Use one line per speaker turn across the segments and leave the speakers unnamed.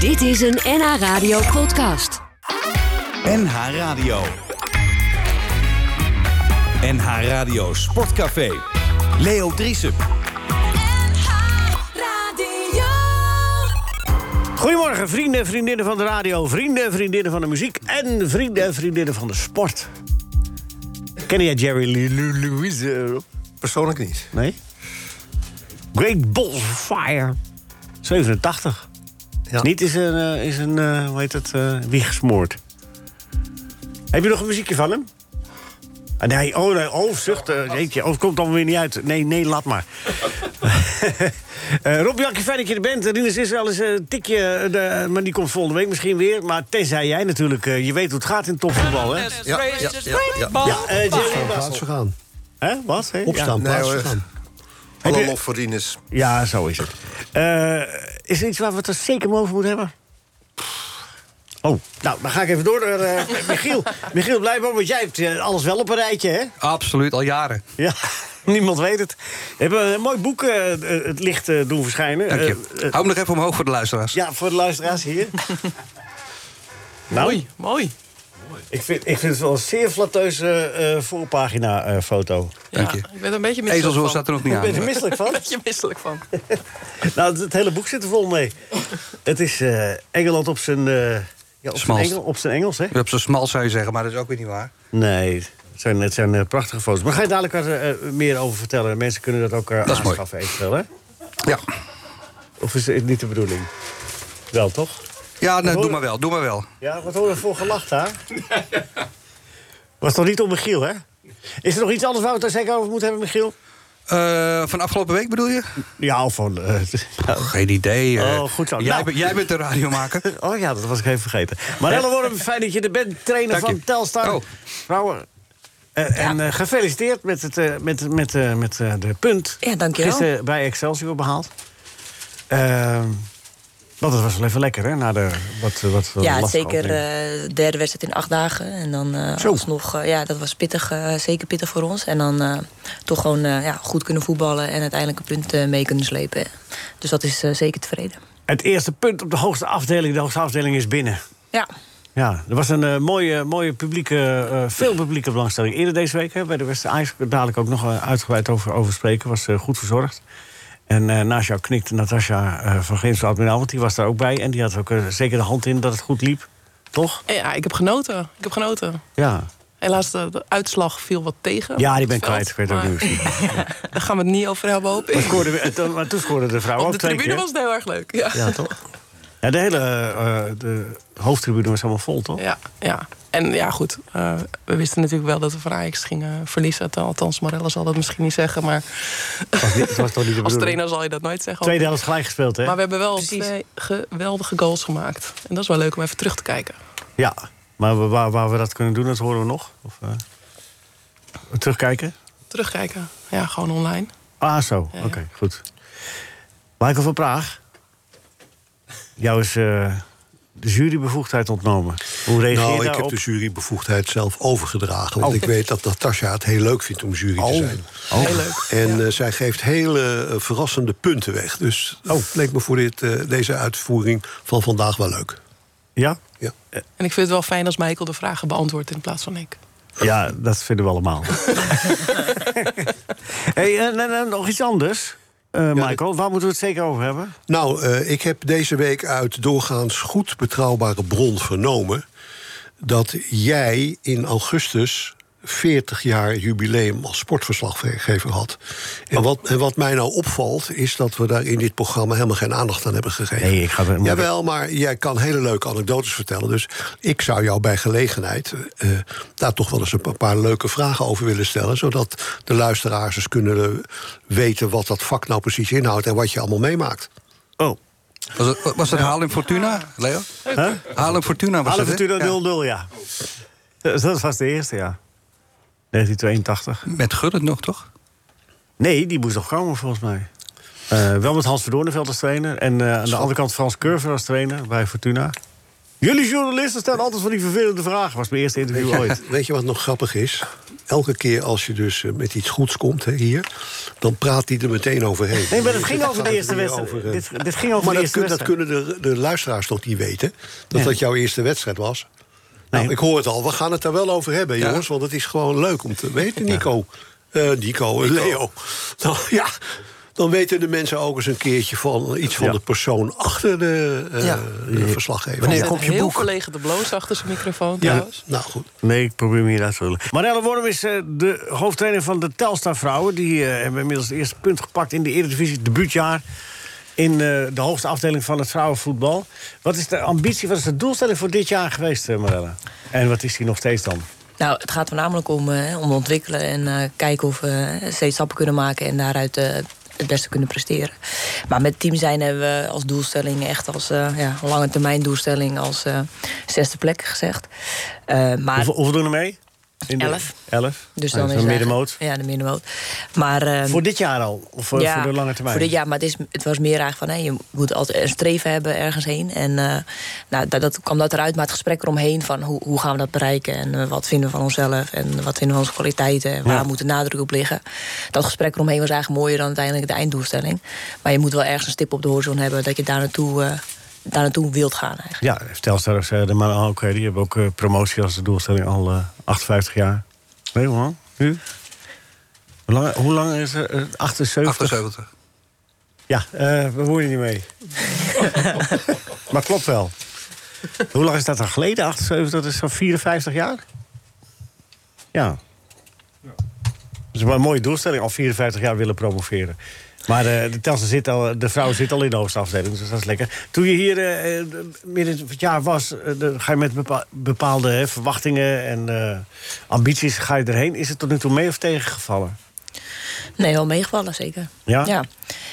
Dit is een NH Radio podcast.
NH Radio. NH Radio Sportcafé. Leo Driessen.
Radio.
Goedemorgen, vrienden en vriendinnen van de radio, vrienden en vriendinnen van de muziek en vrienden en vriendinnen van de sport. Ken jij Jerry Lee Lee- Lewis? eh,
Persoonlijk niet.
Nee? Great Balls of Fire. 87.
Ja.
Niet is een, eh, is een eh, hoe heet het, eh wiegsmoord. Heb je nog een muziekje van hem? Ah, nee, oh, nee, oh, zucht. eh, jeetje, oh, het komt allemaal weer niet uit. Nee, nee, laat maar. Eh Rob, Jankie, fijn dat je er bent. Rinus is wel eens eh, een tikje, eh, de, maar die komt volgende week misschien weer. Maar tenzij jij natuurlijk, eh, je weet hoe het gaat in topvoetbal, hè?
Ja, ja, ja, ja.
Ja, eh, Jerry
Plaats vergaan.
Hè, wat? Hè? Ja.
Opstaan,
Nee,
plaats
hoor.
vergaan.
Alle
je-
lof voor Rinus.
Ja, zo is het. Eh, is er iets waar we het er zeker over moeten hebben? Oh, nou, dan ga ik even door naar eh, Michiel. Michiel, blijkbaar, want jij hebt eh, alles wel op een rijtje, hè?
Absoluut, al jaren.
Ja, niemand weet het. We hebben een mooi boek, eh, eh, het licht eh, doen verschijnen.
Dank je.
Eh, eh,
Hou hem nog even omhoog voor de luisteraars.
ja, voor de luisteraars hier. nou,
Mooi, mooi.
ik vind, ik vind het wel een zeer flatteuze eh voorpagina-foto.
Dank
Ja,
je.
ik ben er een beetje misselijk
Ezelzoor
van.
staat er nog niet
ik ben er
aan.
misselijk van.
Een beetje misselijk van.
Nou, het, het hele boek zit er vol mee. Het is eh, Engeland op zijn, eh, ja, op zijn,
Smalst.
Engel, op zijn Engels, hè?
Je hebt zo smal zou je zeggen, maar dat is ook weer niet waar.
Nee, het zijn, het zijn eh, prachtige foto's. Maar ga je dadelijk wat eh, eh, meer over vertellen? Mensen kunnen dat ook eh
Dat is mooi.
aanschaffen eventueel, hè?
Ja,
Of is het niet de bedoeling? Wel, toch?
ja nee, doe maar wel, doe maar wel.
Ja, wat horen we voor gelacht, hè? Was toch niet om Michiel, hè? Is er nog iets anders waar we het daar zeker over moeten hebben, Michiel?
Eh, van afgelopen week bedoel je?
Ja, of van... eh,
Geen idee. eh.
Oh, goed zo.
Jij,
Nou.
bent- jij bent de radiomaker.
Oh ja, dat was ik even vergeten. Marelle Worm, fijn dat je er bent. Trainer
Dank je.
van Telstar.
Oh.
Vrouwen. eh, En eh, gefeliciteerd met, het, eh, met, met, eh, met eh, de punt.
Ja, dankjewel.
Gisteren bij Excelsior behaald. Ehm, want het was wel even lekker, hè? Na de, wat, wat
Ja,
lastige
zeker
opening.
eh, de derde wedstrijd in acht dagen. En dan eh
Zo.
alsnog, eh, ja, dat was pittig, eh, zeker pittig voor ons. En dan eh, toch gewoon eh, ja, goed kunnen voetballen en uiteindelijk een punt eh, mee kunnen slepen. Dus dat is eh, zeker tevreden.
Het eerste punt op de hoogste afdeling. De hoogste afdeling is binnen.
Ja,
Ja, er was een eh, mooie, mooie publieke, eh, veel publieke belangstelling. Eerder deze week hè, bij de Westen IJs, dadelijk ook nog eh, uitgebreid over, over spreken, was eh, goed verzorgd. En eh naast jou knikte Natasja eh, van Grimsel Admiraal, want die was daar ook bij. En die had ook eh, zeker de hand in dat het goed liep. Toch?
Eh, Ja, ik heb genoten. Ik heb genoten.
Ja,
Helaas, de, de uitslag viel wat tegen.
ja die
op
ben
het
ik kwijt. Ik
veld.
weet ook
Maar
niet hoe het liep.
Daar gaan we het niet over hebben, hoop
Maar
ik.
scoorden we- eh, toen- Maar toen scoorde de vrouwen
Op
ook
de
twee
tribune
keer.
was het heel erg leuk. Ja,
Ja, toch? Ja, de hele eh, eh, de hoofdtribune was helemaal vol, toch?
ja. ja. En ja, goed. eh, we wisten natuurlijk wel dat we van Ajax gingen verliezen. Althans, Marella zal dat misschien niet zeggen. Maar
Was niet- Het was toch niet de
als
bedoeling?
trainer zal je dat nooit zeggen.
Tweede helft gelijk gespeeld, hè?
Maar we hebben wel
Precies.
twee geweldige goals gemaakt. En dat is wel leuk om even terug te kijken.
Ja, maar we- waar, waar we dat kunnen doen, dat horen we nog. Of, eh, terugkijken?
Terugkijken. Ja, gewoon online.
Ah, zo.
Ja,
Oké,
ja.
goed. Michael van Praag. Jou is eh, de jurybevoegdheid ontnomen. Hoe reageer
Nou,
je
ik heb
daarop?
de jurybevoegdheid zelf overgedragen. Want
Oh.
ik weet dat Natasja het heel leuk vindt om jury te zijn.
Heel leuk.
En eh, zij geeft hele eh, verrassende punten weg. Dus het leek me voor dit, eh, deze uitvoering van vandaag wel leuk.
Ja?
Ja.
En ik vind het wel fijn als Michael de vragen beantwoordt in plaats van ik.
ja, dat vinden we allemaal. hey, eh, en, en- en nog iets anders, eh, Michael. Waar moeten we het zeker over hebben?
Nou, eh, ik heb deze week uit doorgaans goed betrouwbare bron vernomen... dat jij in augustus 40 jaar jubileum als sportverslaggever had. En wat, en wat mij nou opvalt, is dat we daar in dit programma... helemaal geen aandacht aan hebben gegeven.
Nee, ik ga er-
Jawel, maar jij kan hele leuke anekdotes vertellen. Dus ik zou jou bij gelegenheid eh, daar toch wel eens een pa- paar leuke vragen over willen stellen. Zodat de luisteraars eens kunnen eh, weten wat dat vak nou precies inhoudt... en wat je allemaal meemaakt.
Oh,
Was het, was het Haarlem Fortuna, Leo? Haarlem Fortuna was
Alle
het, hè?
Fortuna
Ja.
0-0, ja. Eh, Dat was de eerste, ja. 1982.
Met Gullit nog, toch?
Nee, die moest nog komen volgens mij. Eh, wel met Hans Verdoornenveld als trainer. En eh, aan de andere kant Frans Curver als trainer bij Fortuna. Jullie journalisten stellen altijd van die vervelende vragen. Was mijn eerste interview ooit.
Weet je wat nog grappig is? Elke keer als je dus eh, met iets goeds komt hè, hier, dan praat hij er meteen overheen.
Nee, maar het ging
Dit
over de
gaat
eerste
hier
wedstrijd.
over, eh,
Dit- dit ging over
maar
de
dat,
eerste
kun- dat
wedstrijd.
kunnen de, de luisteraars toch niet weten? Dat dat jouw eerste wedstrijd was? Nou,
Nee.
ik hoor het al. We gaan het daar wel over hebben,
Ja.
jongens. Want het is gewoon leuk om te weten, Nico. Eh, Nico, eh, Leo. Nou, ja, dan weten de mensen ook eens een keertje van iets van
Ja.
de persoon achter de, eh,
Ja.
de verslaggever.
Wanneer
Ja.
komt je
Heel
boek?
verlegen te blozen achter zijn microfoon.
Ja,
trouwens.
nou goed.
Nee, ik probeer me hier uit te lullen. Marelle Worm is eh, de hoofdtrainer van de Telstar Vrouwen. Die eh, hebben inmiddels het eerste punt gepakt in de Eredivisie, debuutjaar. In eh, de hoogste afdeling van het vrouwenvoetbal. Wat is de ambitie, wat is de doelstelling voor dit jaar geweest, eh, Marelle? En wat is die nog steeds dan?
Nou, het gaat voornamelijk om, eh, om ontwikkelen en eh, kijken of we eh, steeds stappen kunnen maken en daaruit eh, het beste kunnen presteren. Maar met team zijn hebben we als doelstelling, echt als eh, ja, lange termijn doelstelling, als eh, zesde plek gezegd. Eh, maar
Hoeveel, hoeveel doen er mee? In de-
Elf.
Elf?
Dus dan
Nou, dat
is
een
eigenlijk-
middenmoot.
Ja, de middenmoot. Maar, ehm,
Voor dit jaar al? Of eh, voor, voor de lange termijn?
Voor dit jaar, maar het, is, het was meer eigenlijk van... Hè, je moet altijd een streven hebben ergens heen. En eh, nou, dat, dat kwam dat eruit, maar het gesprek eromheen... van hoe, hoe gaan we dat bereiken en eh, wat vinden we van onszelf... en wat vinden we van onze kwaliteiten en waar
Ja.
moet de nadruk op liggen. Dat gesprek eromheen was eigenlijk mooier dan uiteindelijk de einddoelstelling. Maar je moet wel ergens een stip op de horizon hebben... dat je daar naartoe, eh, daar naartoe wilt gaan eigenlijk.
Ja, Telstar of eh, de mannen ook. eh, die hebben ook eh, promotie als de doelstelling al eh, 58 jaar. Nee, man. Nu? Hoe lang, hoe lang is er? eh, 78?
78.
Ja, eh we horen niet mee. maar klopt wel. Hoe lang is dat dan geleden? 78, dat is zo'n 54 jaar? Ja. Dat is maar een mooie doelstelling, al 54 jaar willen promoveren. Maar eh, de, Telstra zit al, de vrouw zit al in de hoogste afdeling, dus dat is lekker. Toen je hier eh, eh, midden in het jaar was, eh, dan ga je met bepa- bepaalde hè, verwachtingen en eh, ambities ga je erheen. Is het tot nu toe mee of tegengevallen?
Nee, wel meegevallen, zeker.
Ja?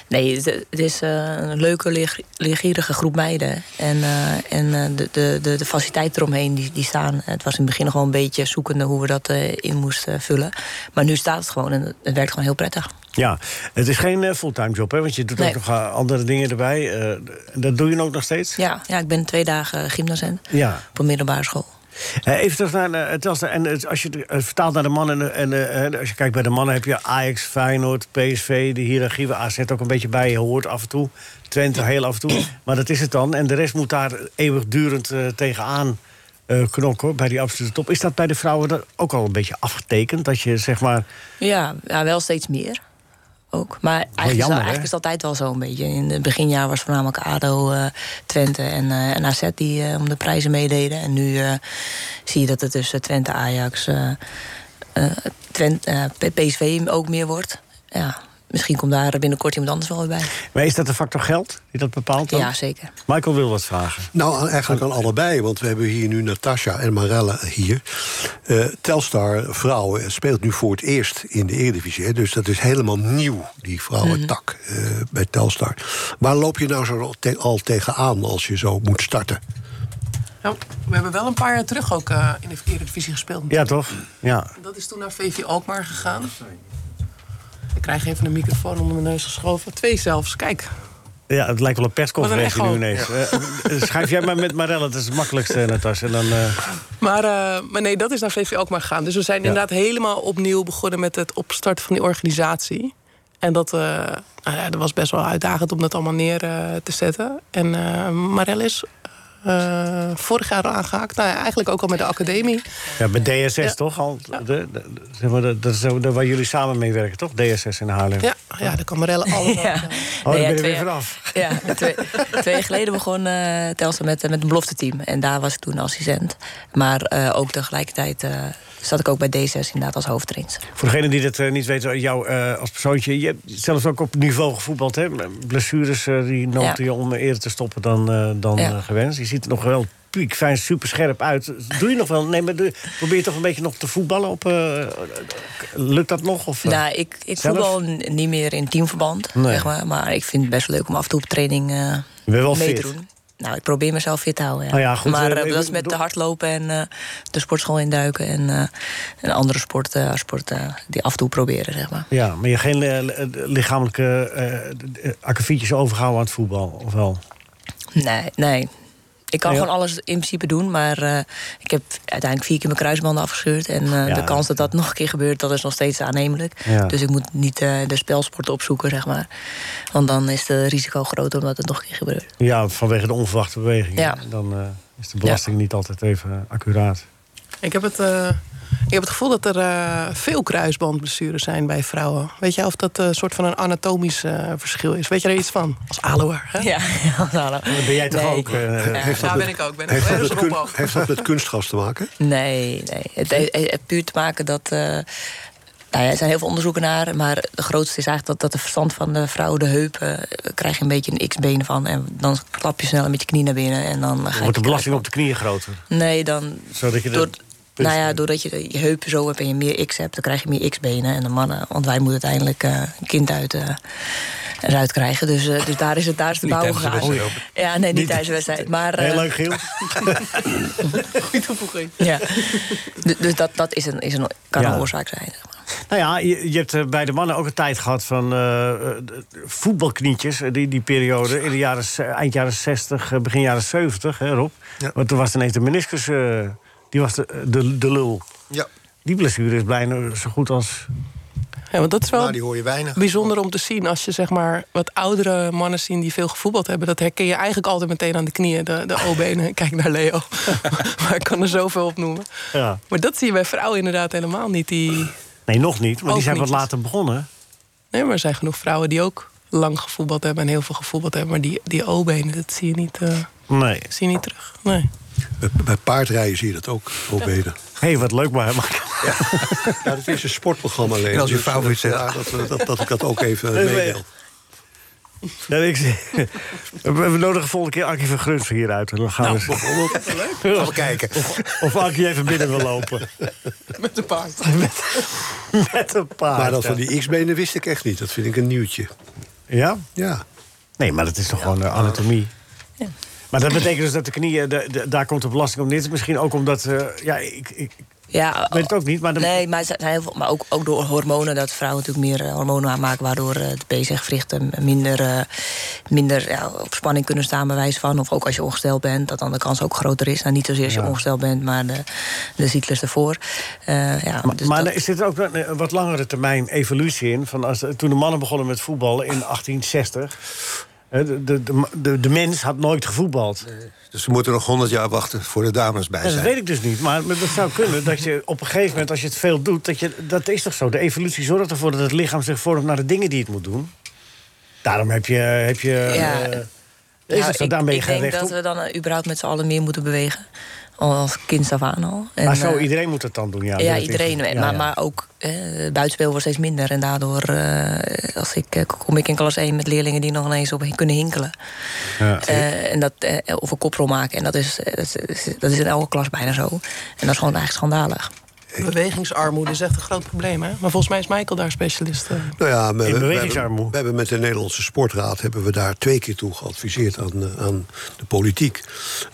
Nee, het, het is eh, een leuke, leer- leergierige groep meiden. En, eh, en eh, de, de, de, de faciliteiten eromheen die, die staan. Het was in het begin gewoon een beetje zoekende hoe we dat eh, in moesten vullen. Maar nu staat het gewoon en het- het werkt gewoon heel prettig.
Ja, het is geen eh, fulltime job, hè? Want je doet ook
Nee.
nog eh, andere dingen erbij. eh, d- dat doe je ook nog steeds?
Ja, ja ik ben twee dagen gymdocent
Ja.
op een middelbare school.
Eh, even terug naar eh, Telstra. En eh, als je het eh, vertaalt naar de mannen... en eh, eh, als je kijkt bij de mannen heb je Ajax, Feyenoord, PSV... de hiërarchie waar AZ ook een beetje bij hoort af en toe. Twente heel af en toe. Maar dat is het dan. En de rest moet daar eeuwigdurend eh, tegenaan eh, knokken... bij die absolute top. Is dat bij de vrouwen dan ook al een beetje afgetekend? Dat je zeg maar...
Ja, ja wel steeds meer. Ook. Maar eigenlijk, is,
jammer,
dat-
hè?
eigenlijk is het altijd wel zo'n beetje. In het beginjaar was voornamelijk ADO, eh, Twente en, eh, en AZ die eh, om de prijzen meededen. En nu eh, zie je dat het tussen Twente, Ajax, eh, eh, Twente, eh, P- PSV ook meer wordt. Ja, misschien komt daar binnenkort iemand anders wel weer bij.
Maar is dat de factor geld die dat bepaalt dan?
Ja, zeker.
Michael wil wat vragen.
Nou, aan- eigenlijk aan allebei, want we hebben hier nu Natasja en Marella hier. Eh, Telstar Vrouwen speelt nu voor het eerst in de Eredivisie. Hè, dus dat is helemaal nieuw, die vrouwentak eh,
Mhm.
bij Telstar. Waar loop je nou zo te- al tegenaan als je zo moet starten?
Nou, we hebben wel een paar jaar terug ook eh, in de Eredivisie gespeeld.
Ja, toch? Ja.
Dat is toen naar VV Alkmaar gegaan. Ik krijg even een microfoon onder mijn neus geschoven. Twee zelfs, kijk.
Ja, het lijkt wel een persconferentie
Wat
nu
een
ineens. Eh, schrijf jij maar met Marelle, dat is het makkelijkste, Natasja. Dan, eh,
Maar, eh, maar nee, dat is naar VV Alkmaar gegaan. Dus we zijn inderdaad helemaal opnieuw begonnen met het opstarten van die organisatie. En dat, eh, nou ja, dat was best wel uitdagend om dat allemaal neer eh, te zetten. En eh Marel is eh, vorig jaar al aangehaakt. Nou ja, eigenlijk ook al met de academie.
ja, bij DSS toch? Al, de, de- de- zeg maar, de- dat is zo de- waar jullie samen mee werken, toch? DSS in Haarlem.
Ja, ja daar kan Marelle allemaal.
Ja.
Oh, daar
Nee, ja,
ben je
twee-
weer vanaf.
Ja, twee, twee jaar geleden begon eh Telstra met, eh, met een belofte team. En daar was ik toen assistent. Maar eh, ook tegelijkertijd eh, zat ik ook bij D6 inderdaad als hoofdtrainer.
Voor degenen die dat eh, niet weten, jou eh, als persoontje... je hebt zelfs ook op niveau gevoetbald, hè? Blessures eh, die noopten je om eerder te stoppen dan, eh, dan
Ja.
eh, gewenst. Je ziet er nog wel piekfijn, superscherp uit. Doe je nog wel... Nee, maar doe, probeer je toch een beetje nog te voetballen op... eh, lukt dat nog? Of, eh?
Nou, ik, ik
Zelf?
voetbal n- niet meer in teamverband,
Nee.
zeg maar. Maar ik vind het best leuk om af en toe op training eh,
je bent wel
mee
fit.
te doen. Nou, ik probeer mezelf fit te houden. Ja.
Oh ja, goed,
maar
eh,
eh,
ik
dat is met
bedoel-
de hardlopen en eh, de sportschool induiken. En, eh, en andere sporten sport, eh, die af en toe proberen, zeg maar.
Ja, maar je hebt geen eh, li- eh, lichamelijke eh, d- d- eh, akkefietjes overgehouden aan het voetbal, of wel?
Nee, nee. Ik kan
Ja.
gewoon alles in principe doen, maar eh, ik heb uiteindelijk vier keer mijn kruisbanden afgescheurd. En eh,
Ja,
de kans dat dat nog een keer gebeurt, dat is nog steeds aannemelijk.
Ja.
Dus ik moet niet eh, de spelsport opzoeken, zeg maar. Want dan is het risico groot omdat het nog een keer gebeurt.
Ja, vanwege de onverwachte beweging.
Ja.
Dan eh, is de belasting niet altijd even eh, accuraat.
Ik heb het, eh, ik heb het gevoel dat er eh, veel kruisbandblessures zijn bij vrouwen. Weet je of dat eh, een soort van een anatomisch eh, verschil is? Weet je er iets van? Als aloer, hè?
Ja, hallo.
Ben jij toch
Nee.
ook? eh,
Ja.
Heeft dat
Daar
met-
ben ik ook. Ben ik
Heeft
ook.
dat, met
Dat is
kun-
Rob ook.
heeft dat met kunstgas te maken?
Nee, nee. Het heeft het heeft puur te maken dat. eh, nou ja, er zijn heel veel onderzoeken naar, maar de grootste is eigenlijk dat, dat de verstand van de vrouw, de heupen, eh, krijg je een beetje een x-been van. En dan klap je snel met je knie naar binnen en dan eh, ga je.
Wordt de belasting op de knieën groter?
Nee, dan.
Zodat je de-
door-
dus-
nou ja, doordat je de- je heupen zo hebt en je meer x hebt, dan krijg je meer x-benen. En de mannen, want wij moeten uiteindelijk eh, een kind uit, eh, eruit krijgen. Dus, eh, dus daar is het daar is de
Niet
bouw
tijdens de
gegaan.
wedstrijd.
ja, nee, niet
Niet-
tijdens de wedstrijd. Maar, eh,
Heel leuk, Giel.
Goeie toevoeging.
Ja. Du- dus dat, dat is een, is een, kan
Ja.
een oorzaak zijn. zeg maar.
Nou ja, je, je hebt eh, bij de mannen ook een tijd gehad van eh, eh, voetbalknietjes. eh, Die, die periode, in de jaren, z- eind jaren 60, eh, begin jaren 70, hè, Rob.
Ja.
Want toen was ineens de meniscus, eh, die was de, de, de lul.
Ja,
Die blessure is bijna zo goed als...
Ja, want dat is wel
nou, die hoor je weinig.
bijzonder om te zien. Als je zeg maar wat oudere mannen zien die veel gevoetbald hebben, dat herken je eigenlijk altijd meteen aan de knieën, de, de O-benen. Kijk naar Leo. maar ik kan er zoveel op noemen.
Ja.
Maar dat zie je bij vrouwen inderdaad helemaal niet. Die...
Nee, nog niet, maar die
Ook
zijn wat
niet.
later begonnen.
Nee, maar er zijn genoeg vrouwen die ook lang gevoetbald hebben en heel veel gevoetbald hebben. Maar die, die O-benen, dat zie je, niet, eh,
Nee.
zie je niet terug. Nee.
Bij- Bij paardrijden zie je dat ook, ook beter.
Hé, hey, wat leuk maar. maar-
Ja, dat is een sportprogramma alleen.
En als je
Dus,
vrouw iets
eh,
zegt.
ja, dat, we- dat, dat ik dat ook even eh,
Even-
meedeel.
Nee, ik, we we nodigen volgende keer Ankie van Gruns hier uit. En dan
Nou,
gaan we eens-
Gaan we kijken.
of Ankie even binnen wil lopen.
Met de paard.
Met een
Ah,
paard.
Maar dat
ja.
van die X-benen wist ik echt niet. Dat vind ik een nieuwtje.
Ja?
Ja.
Nee, maar dat is toch gewoon eh, anatomie. Maar dat betekent dus dat de knieën, de- de- daar komt de belasting op neer. Misschien ook omdat, eh, ja, ik, ik,
Ja,
weet het ook niet, maar de-
Nee, maar, er zijn heel veel, maar ook, ook door hormonen, dat vrouwen natuurlijk meer eh, hormonen aanmaken... waardoor eh, de bezigwrichten minder, eh, minder ja, op spanning kunnen staan bij wijze van. Of ook als je ongesteld bent, dat dan de kans ook groter is. Nou, niet zozeer als je ongesteld bent, maar de, de cyclus ervoor. Eh, ja,
Maar,
dus
maar
dat-
zit er ook een een wat langere termijn evolutie in? Van als, toen de mannen begonnen met voetballen in 1860... eh, De, de, de, de, de mens had nooit gevoetbald.
Dus we moeten nog 100 jaar wachten voor de dames bij
Ja, dat
zijn.
weet ik dus niet, maar het zou kunnen dat je op een gegeven moment, als je het veel doet, dat, je, dat is toch zo. De evolutie zorgt ervoor dat het lichaam zich vormt naar de dingen die het moet doen. Daarom heb je. Heb je
Ja,
eh,
eh,
is
Nou,
het zo, daarmee
ik
geen
denk
recht
dat
op.
we dan eh, überhaupt met z'n allen meer moeten bewegen. Al Als kind af aan al. En,
maar zo,
eh,
iedereen moet het dan doen. Ja,
Ja,
dat is-
iedereen.
ja,
maar,
ja.
maar ook eh, het buitenspel wordt steeds minder. En daardoor eh, als ik, eh, kom ik in klas 1 met leerlingen die nog ineens op kunnen hinkelen. Eh, en dat, eh, of een koprol maken. En dat is, eh, dat, is, dat is in elke klas bijna zo. En dat is gewoon eigenlijk schandalig.
Bewegingsarmoede is echt een groot probleem, hè? Maar volgens mij is Michael daar specialist. eh.
Nou ja, we, hebben- we,
bewegingsarmoede.
hebben, we hebben met de Nederlandse Sportraad hebben we daar twee keer toe geadviseerd aan, eh, aan de politiek.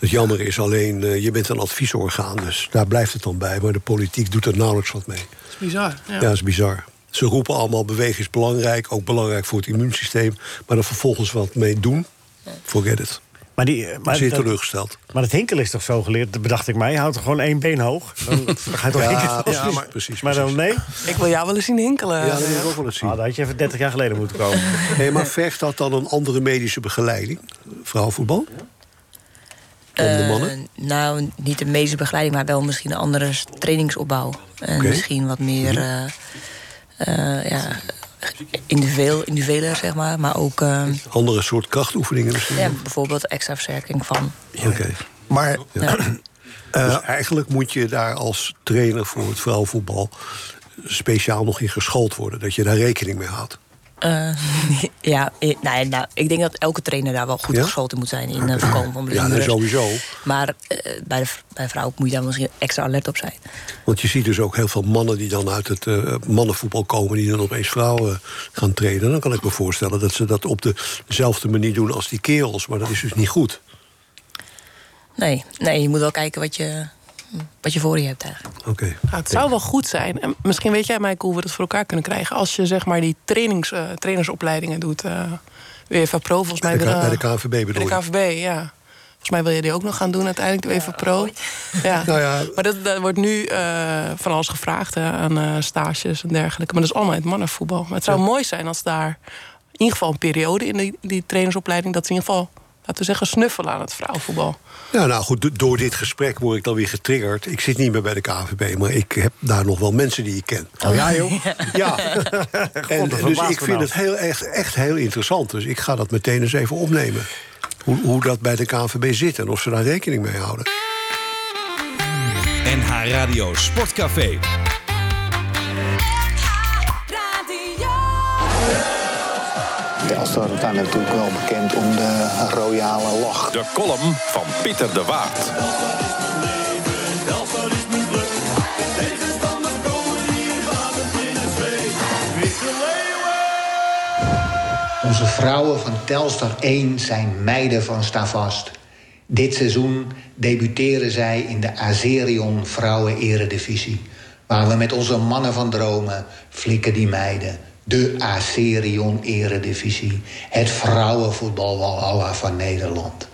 Het jammer is alleen, eh, je bent een adviesorgaan, dus daar blijft het dan bij. Maar de politiek doet er nauwelijks wat mee.
Dat is bizar.
Ja,
Ja.
dat is bizar. Ze roepen allemaal bewegen is belangrijk, ook belangrijk voor het immuunsysteem. Maar dan vervolgens wat mee doen, forget it.
Maar, die, eh, maar,
Zeer
dat,
teleurgesteld.
maar het hinkelen is toch zo geleerd, dat bedacht ik mij. Je houdt er gewoon één been hoog. Dan dan ga je toch
Ja,
hinkelen?
ja, maar- precies,
Maar dan nee?
Ik wil jou wel eens zien hinkelen.
Ja, dat wil ik ook wel eens zien.
Ah, dat had je even 30 jaar geleden moeten komen.
Hey, maar vergt dat dan een andere medische begeleiding? Vrouwenvoetbal? Dan de mannen?
Eh, nou, niet de medische begeleiding, maar wel misschien een andere s- trainingsopbouw. En
Oké. Mhm.
misschien wat meer eh, eh, ja, individueel, individueler, zeg maar. Maar ook eh,
Andere soort krachtoefeningen misschien?
ja, bijvoorbeeld extra versterking van.
Oké.
Maar
dus eigenlijk moet je daar als trainer voor het vrouwenvoetbal speciaal nog in geschoold worden. Dat je daar rekening mee houdt.
Eh, ja, eh, nou, ja, nou, ik denk dat elke trainer daar wel goed
Ja?
geschoold in moet zijn in het voorkomen van
Ja, dat
blessures.
sowieso.
maar eh, bij, de, v- bij vrouwen moet je daar misschien extra alert op zijn.
Want je ziet dus ook heel veel mannen die dan uit het eh, mannenvoetbal komen... die dan opeens vrouwen gaan trainen. Dan kan ik me voorstellen dat ze dat op dezelfde manier doen als die kerels. Maar dat is dus niet goed.
Nee, nee, je moet wel kijken wat je, wat je voor je hebt eigenlijk.
Oké.
Ja, Nou, het zou wel goed zijn. En misschien weet jij, Michael, hoe we dat voor elkaar kunnen krijgen. Als je zeg maar die trainings, eh, trainersopleidingen doet. eh UEFA Pro, volgens mij.
Bij de K-
eh,
bij de KNVB bedoel
Bij
je?
de KNVB, ja. Volgens Volgens mij wil je die ook nog gaan doen uiteindelijk, doe even pro. Ja.
Nou ja.
Maar dat, dat wordt nu eh, van alles gevraagd hè, aan eh, stages en dergelijke. Maar dat is allemaal in het mannenvoetbal. Maar het zou mooi zijn als daar in ieder geval een periode in die, die trainersopleiding... dat ze in ieder geval, laten we zeggen, snuffelen aan het vrouwenvoetbal.
Ja, nou goed, do- door dit gesprek word ik dan weer getriggerd. Ik zit niet meer bij de KVB, maar ik heb daar nog wel mensen die ik ken. Oh ja, joh? Ja. en,
verbaast
dus
me
ik vind
nou.
het heel, echt, echt heel interessant. Dus ik ga dat meteen eens even opnemen. Hoe, hoe dat bij de KVB zit en of ze daar rekening mee houden.
NH Radio Sportcafé.
Telstar staat uiteindelijk natuurlijk wel bekend om de royale lach.
De column van Pieter de Waard.
Onze vrouwen van Telstar 1 zijn meiden van Stavast. Dit seizoen debuteren zij in de Azerion Vrouwen Eredivisie. Waar we met onze mannen van dromen flikken die meiden. De Azerion Eredivisie. Het vrouwenvoetbalwalhalla van Nederland.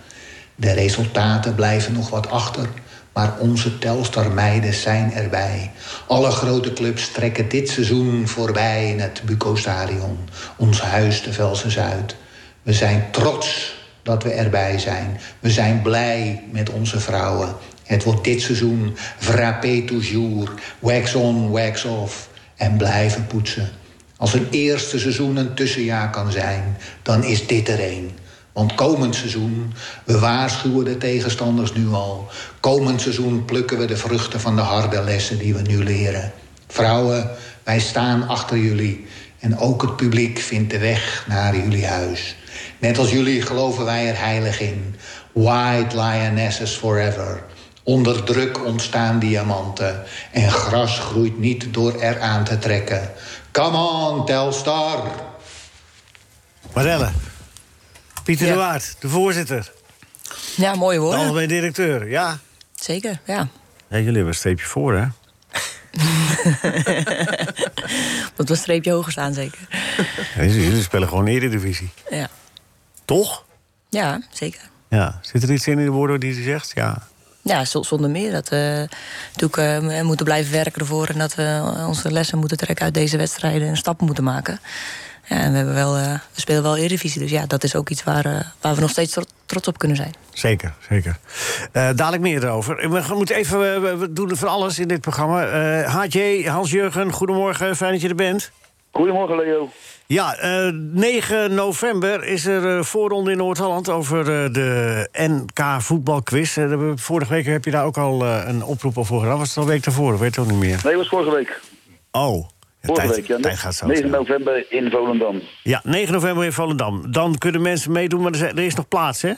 De resultaten blijven nog wat achter, maar onze Telstar-meiden zijn erbij. Alle grote clubs trekken dit seizoen voorbij in het Buco Stadion, ons huis te Velsen-Zuid. We zijn trots dat we erbij zijn. We zijn blij met onze vrouwen. Het wordt dit seizoen frappé toujours, wax on, wax off en blijven poetsen. Als een eerste seizoen een tussenjaar kan zijn, dan is dit er een. Want komend seizoen, we waarschuwen de tegenstanders nu al. Komend seizoen plukken we de vruchten van de harde lessen die we nu leren. Vrouwen, wij staan achter jullie. En ook het publiek vindt de weg naar jullie huis. Net als jullie geloven wij er heilig in. White Lionesses Forever. Onder druk ontstaan diamanten en gras groeit niet door eraan te trekken. Come on, Telstar!
Marelle. Pieter
Ja.
de Waard, de voorzitter.
Ja, mooie
De
woorden.
algemeen directeur, ja.
Zeker, ja.
ja. Jullie hebben een streepje voor, hè?
Dat was een streepje hoger staan, zeker.
Ja, jullie jullie spelen gewoon Eredivisie.
Ja,
Toch?
ja zeker.
Ja. Zit er iets in in de woorden die ze zegt? Ja.
Ja, z- zonder meer. Dat we natuurlijk eh, we moeten blijven werken ervoor. En dat we onze lessen moeten trekken uit deze wedstrijden. En stappen moeten maken. Ja, en we, hebben wel, eh, we spelen wel Eredivisie. Dus ja, dat is ook iets waar, eh, waar we nog steeds tro- trots op kunnen zijn.
Zeker, zeker. Eh, dadelijk meer erover. We gaan- moeten even, eh, we- we doen van alles in dit programma. Eh HJ, Hans-Jurgen, goedemorgen. Fijn dat je er bent.
Goedemorgen Leo.
Ja, eh, 9 november is er eh, voorronde in Noord-Holland over eh, de NK voetbalquiz. Eh, daar hebben we- vorige week heb je daar ook al eh, een oproep al voor gedaan. Was het al een week daarvoor? Weet het ook niet meer.
Nee, was vorige week.
Oh. Ja,
Vorige
tijd-
week, ja.
tijd gaat zo
9
snel.
november in Volendam.
Ja, 9 november in Volendam. Dan kunnen mensen meedoen, maar er zijn- er is nog plaats, hè?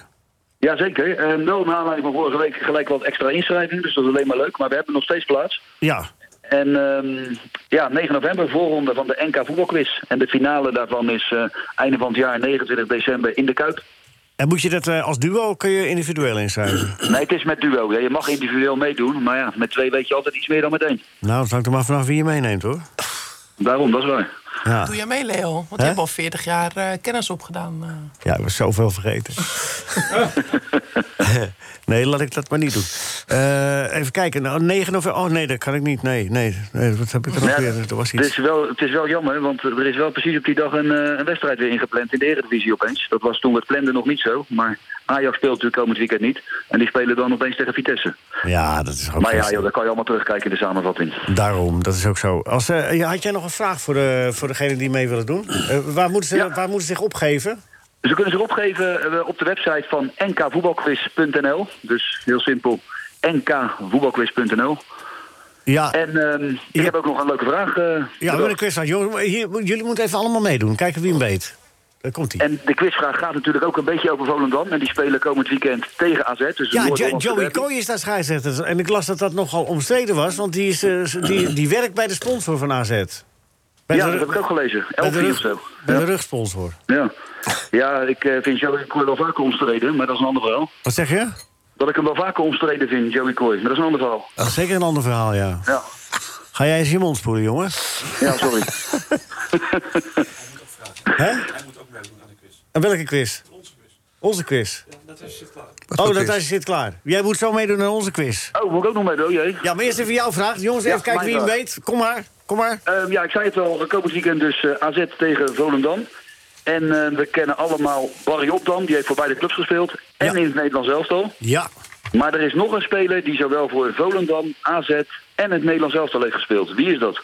Jazeker. En wel naar aanleiding van vorige week gelijk wat extra inschrijvingen. Dus dat is alleen maar leuk. Maar we hebben nog steeds plaats.
Ja.
En ehm, ja, 9 november voorronde van de NK voetbalquiz. En de finale daarvan is eh, einde van het jaar 29 december in de Kuip.
En moet je dat eh, als duo, kun je individueel inschrijven?
Nee, het is met duo. Ja, je mag individueel meedoen. Maar ja, met twee weet je altijd iets meer dan met één.
nou, dat hangt er maar vanaf wie je meeneemt, hoor.
Daarom, dat is waar.
Ah.
Ja,
Doe jij mee, Leo? Want je
Hè?
hebt al 40 jaar eh, kennis opgedaan. eh.
ja ik was zoveel vergeten. nee, laat ik dat maar niet doen. Eh, even kijken. Nou, 9 november. Oh, nee, dat kan ik niet. Nee, nee. nee wat heb ik er nog
Ja, dus
weer? Er was
het,
iets.
is wel, het is wel jammer, want er is wel precies op die dag een, eh, een wedstrijd weer ingepland in de Eredivisie opeens. Dat was toen we het planden nog niet zo, maar Ajax speelt natuurlijk komend weekend niet. En die spelen dan opeens tegen Vitesse.
Ja, dat is ook
maar ja,
best-
joh, daar kan je allemaal terugkijken in de samenvatting.
Daarom, dat is ook zo. Als, eh, ja, had jij nog een vraag voor, de, voor degene die mee willen doen? Eh, waar, moeten ze,
Ja.
waar moeten ze zich opgeven?
Ze kunnen zich opgeven eh, op de website van nkvoetbalquiz.nl. Dus heel simpel, nkvoetbalquiz.nl.
Ja,
En ehm, ik
Ja.
heb ook nog een leuke vraag. eh,
ja maar
bedacht.
de quiz aan. Jongens, maar hier, jullie moeten even allemaal meedoen. Kijken wie hem weet. Daar komt hij.
en de quizvraag gaat natuurlijk ook een beetje over Volendam. En die spelen komend weekend tegen AZ. Dus de
Ja, Jo-
Noord-Hollandse
Joey
derby.
Kooi is daar scheidsrechter. En ik las dat dat nogal omstreden was, want die, is, eh, s- die, die werkt bij de sponsor van AZ. Bij
Ja,
de
dat
ru-
heb ik ook gelezen.
bij de,
11 of
rug-
zo.
bij
Ja.
de rugsponsor.
Ja, ja ik eh, vind Joey Coy wel vaker omstreden, maar dat is een ander verhaal.
Wat zeg je?
Dat ik hem wel vaker omstreden vind, Joey Coy, maar dat is een ander verhaal.
Dat is zeker een ander verhaal, ja.
Ja,
Ga jij eens je mond spoelen, jongen?
ja sorry.
Hè? En welke quiz? Onze quiz. Onze quiz. oh,
voor
dat
quiz.
hij zit klaar. Jij moet zo meedoen aan onze quiz.
Oh, moet ik ook nog meedoen? Oh jee.
Ja, maar eerst even jouw vraag. Jongens, even kijken wie hem weet. Kom maar, kom maar.
Ehm, ja, ik zei het al, komend weekend dus eh, AZ tegen Volendam. En eh, we kennen allemaal Barry Opdam, die heeft voor beide clubs gespeeld. En in het Nederlands elftal.
Ja.
Maar er is nog een speler die zowel voor Volendam, AZ en het Nederlands elftal heeft gespeeld. Wie is dat?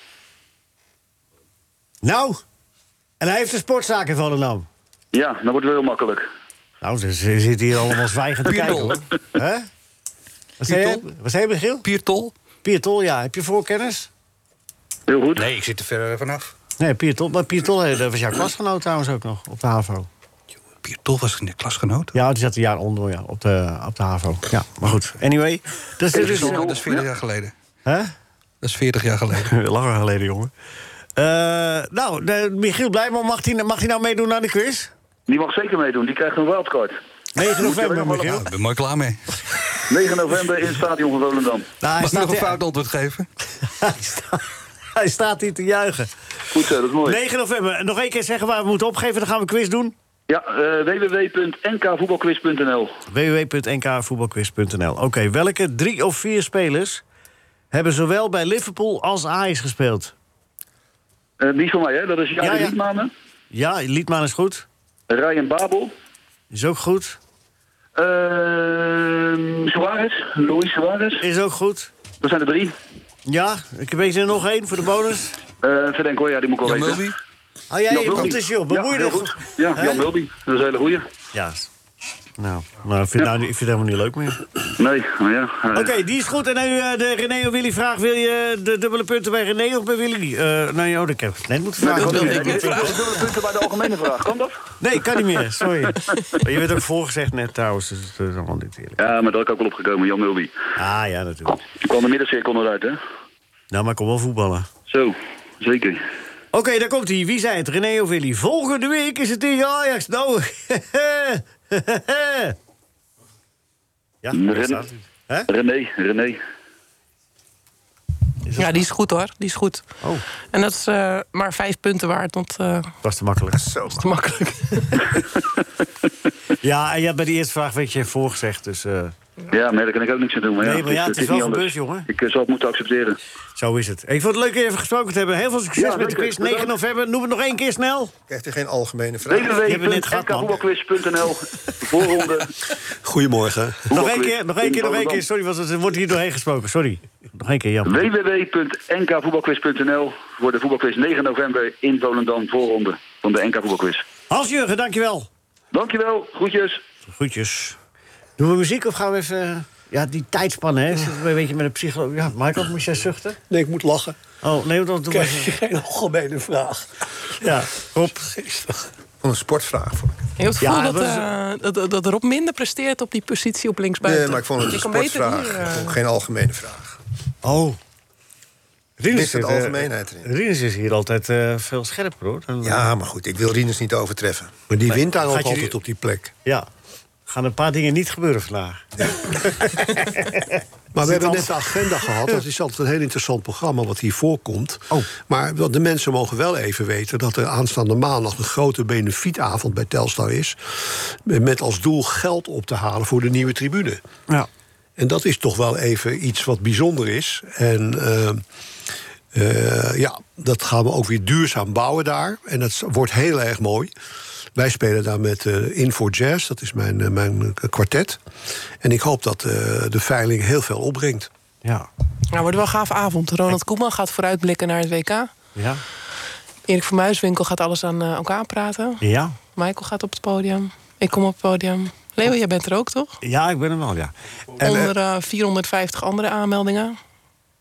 Nou, en hij heeft de sportzaak in Volendam.
Ja, dat wordt wel heel makkelijk.
Nou, ze, ze zitten hier allemaal zwijgend te kijken.
Piertol.
Hoor. Hè? Wat zei je, wat zei je Michiel?
Piertol.
Piertol, ja. Heb je voorkennis?
Heel goed.
Nee, ik zit er verder vanaf.
Nee, Piertol. Maar Piertol eh, dat was jouw klasgenoot trouwens ook nog, op de HAVO.
Piertol was in de klasgenoot.
Ja, die zat een jaar onder, ja, op de, op de HAVO. Ja, maar goed. Anyway. Dus,
dat,
dit
is,
is
dat is 40 jaar geleden.
Hè?
Dat is 40 jaar geleden.
Langer geleden, jongen. Eh, nou, de, Michiel Blijman, mag hij mag die nou meedoen aan de quiz?
Die mag zeker meedoen, die krijgt een wildcard.
9 november,
Ja,
Michiel.
ik ben mooi klaar mee.
9 november in het stadion van Volendam.
Nou, hij,
Mag ik nog
staat,
een
hij,
fout antwoord geven?
staat, hij staat hier te juichen.
Goed zo, dat is mooi.
9 november. En Eh, Nog één keer zeggen waar we moeten opgeven, dan gaan we een quiz doen.
Ja, eh www.nkvoetbalquiz.nl.
www.nkvoetbalquiz.nl Oké, welke drie of vier spelers hebben zowel bij Liverpool als Ajax gespeeld?
Eh, die is van mij, hè? Dat is Jari
Ja, ja.
Liedmanen,
Ja, Liedman is goed.
Ryan Babel,
Is ook goed.
eh, Suarez, Luis Suarez.
Is ook goed.
Dat zijn er drie.
Ja, ik weet er nog één voor de bonus.
Eh Verdenk hoor, ja, die moet ik wel
Jan
weten.
Mulby?
Oh, jij
Jan
je
Mulby.
goed is, joh.
ja,
Bemoei
heel
je
goed.
toch?
Ja, Jan
Hè?
Mulby. Dat is een hele goeie.
Ja. Nou, nou, ik vind, nou, ik vind het helemaal niet leuk meer.
Nee, maar ja. eh,
Oké, die is goed. En nu eh, de René of Willy vraag. Wil je eh, de dubbele punten bij René of bij Willy? Eh nou ja, dat heb ik net moeten vragen.
dat
want Nou,
wil
ik
ik
weet
niet.
het niet.
Dat is dubbele punten bij de algemene vraag. Kan dat?
Nee, kan niet meer. Sorry. maar je werd ook voorgezegd net trouwens. Dus het is allemaal niet eerlijk.
Ja, maar daar had ik ook wel opgekomen, Jan Mulby.
Ah ja, natuurlijk.
Ik kwam de middencirkel eruit, hè?
Nou, maar ik kom wel voetballen.
Zo, zeker.
Oké, daar komt hij. Wie zei het? René of Willy? Volgende week is het tegen Ajax. Nou, Ja, daar
René.
staat hij. Hè?
René, René.
Ja, die is goed hoor. Die is goed.
Oh,
En dat is eh, maar vijf punten waard, want eh, dat
was te makkelijk.
is te makkelijk.
Ja, en ja, bij de eerste vraag werd je voorgezegd, dus eh,
Ja, maar daar kan ik ook niks aan doen. Maar
Nee,
ja,
maar ja, het is wel
niet
gebeurd,
anders.
jongen.
Ik eh, zal het moeten accepteren.
zo is het. Ik vond het leuk even gesproken te hebben. Heel veel succes
Ja,
met de
leuk,
quiz.
bedankt.
9 november, noem het nog één keer snel.
Krijgt u geen algemene vraag?
hebben net gehad, man.
www.nkvoetbalquiz.nl Voorronde.
Goedemorgen.
Nog één keer, nog één keer, nog één keer.
Volendam.
Sorry, want het wordt hier doorheen gesproken. Sorry. Nog één keer, jammer.
www.nkvoetbalquiz.nl voor de voetbalquiz 9 november in Volendam. Voorronde van de NK Voetbalquiz.
Hans-Jurgen, dankjewel.
Dankjewel, groetjes.
Groetjes. Doen we muziek of gaan we even... Ja, die tijdspannen, hè? Zitten we een beetje met een psycholoog... Ja, Michael, moest jij zuchten?
Nee, ik moet lachen.
Oh, nee, want dan...
Krijg je geen algemene vraag?
Ja, Rob.
Een sportvraag voor me.
Je hebt het
Ja,
gevoel dat,
dat is-
eh, dat, dat Rob minder presteert op die positie op linksbuiten.
Nee, maar ik vond het
Je
een
kan beter
sportvraag.
hier, eh,
Ik vond Geen algemene vraag.
Oh. Rinus
Dit zit
eh,
algemeenheid erin.
Rinus is hier altijd eh, veel scherper, hoor. Dan-
Ja, maar goed, ik wil Rinus niet overtreffen.
Maar die wint daar ook
Gaat je die-
altijd op die plek.
Ja. Gaan een paar dingen niet gebeuren vandaag.
Maar
Zit
we hebben
al-
net de agenda gehad. Dat is altijd een heel interessant programma wat hier voorkomt.
Oh.
Maar wat de mensen mogen wel even weten dat er aanstaande maandag een grote benefietavond bij Telstar is. Met als doel geld op te halen voor de nieuwe tribune.
Ja.
En dat is toch wel even iets wat bijzonder is. En eh, eh, ja, dat gaan we ook weer duurzaam bouwen daar. En dat wordt heel erg mooi. Wij spelen daar met eh In for Jazz, dat is mijn, eh, mijn kwartet. En ik hoop dat eh, de veiling heel veel opbrengt.
Ja.
Nou, wordt wel een gaaf avond. Ronald Koeman gaat vooruitblikken naar het WK.
Ja.
Erik van Muiswinkel gaat alles aan eh, elkaar praten.
Ja.
Michael gaat op het podium. Ik kom op het podium. Leo, jij bent er ook, toch?
Ja, ik ben hem wel, ja. En, eh,
Onder eh, 450 andere aanmeldingen.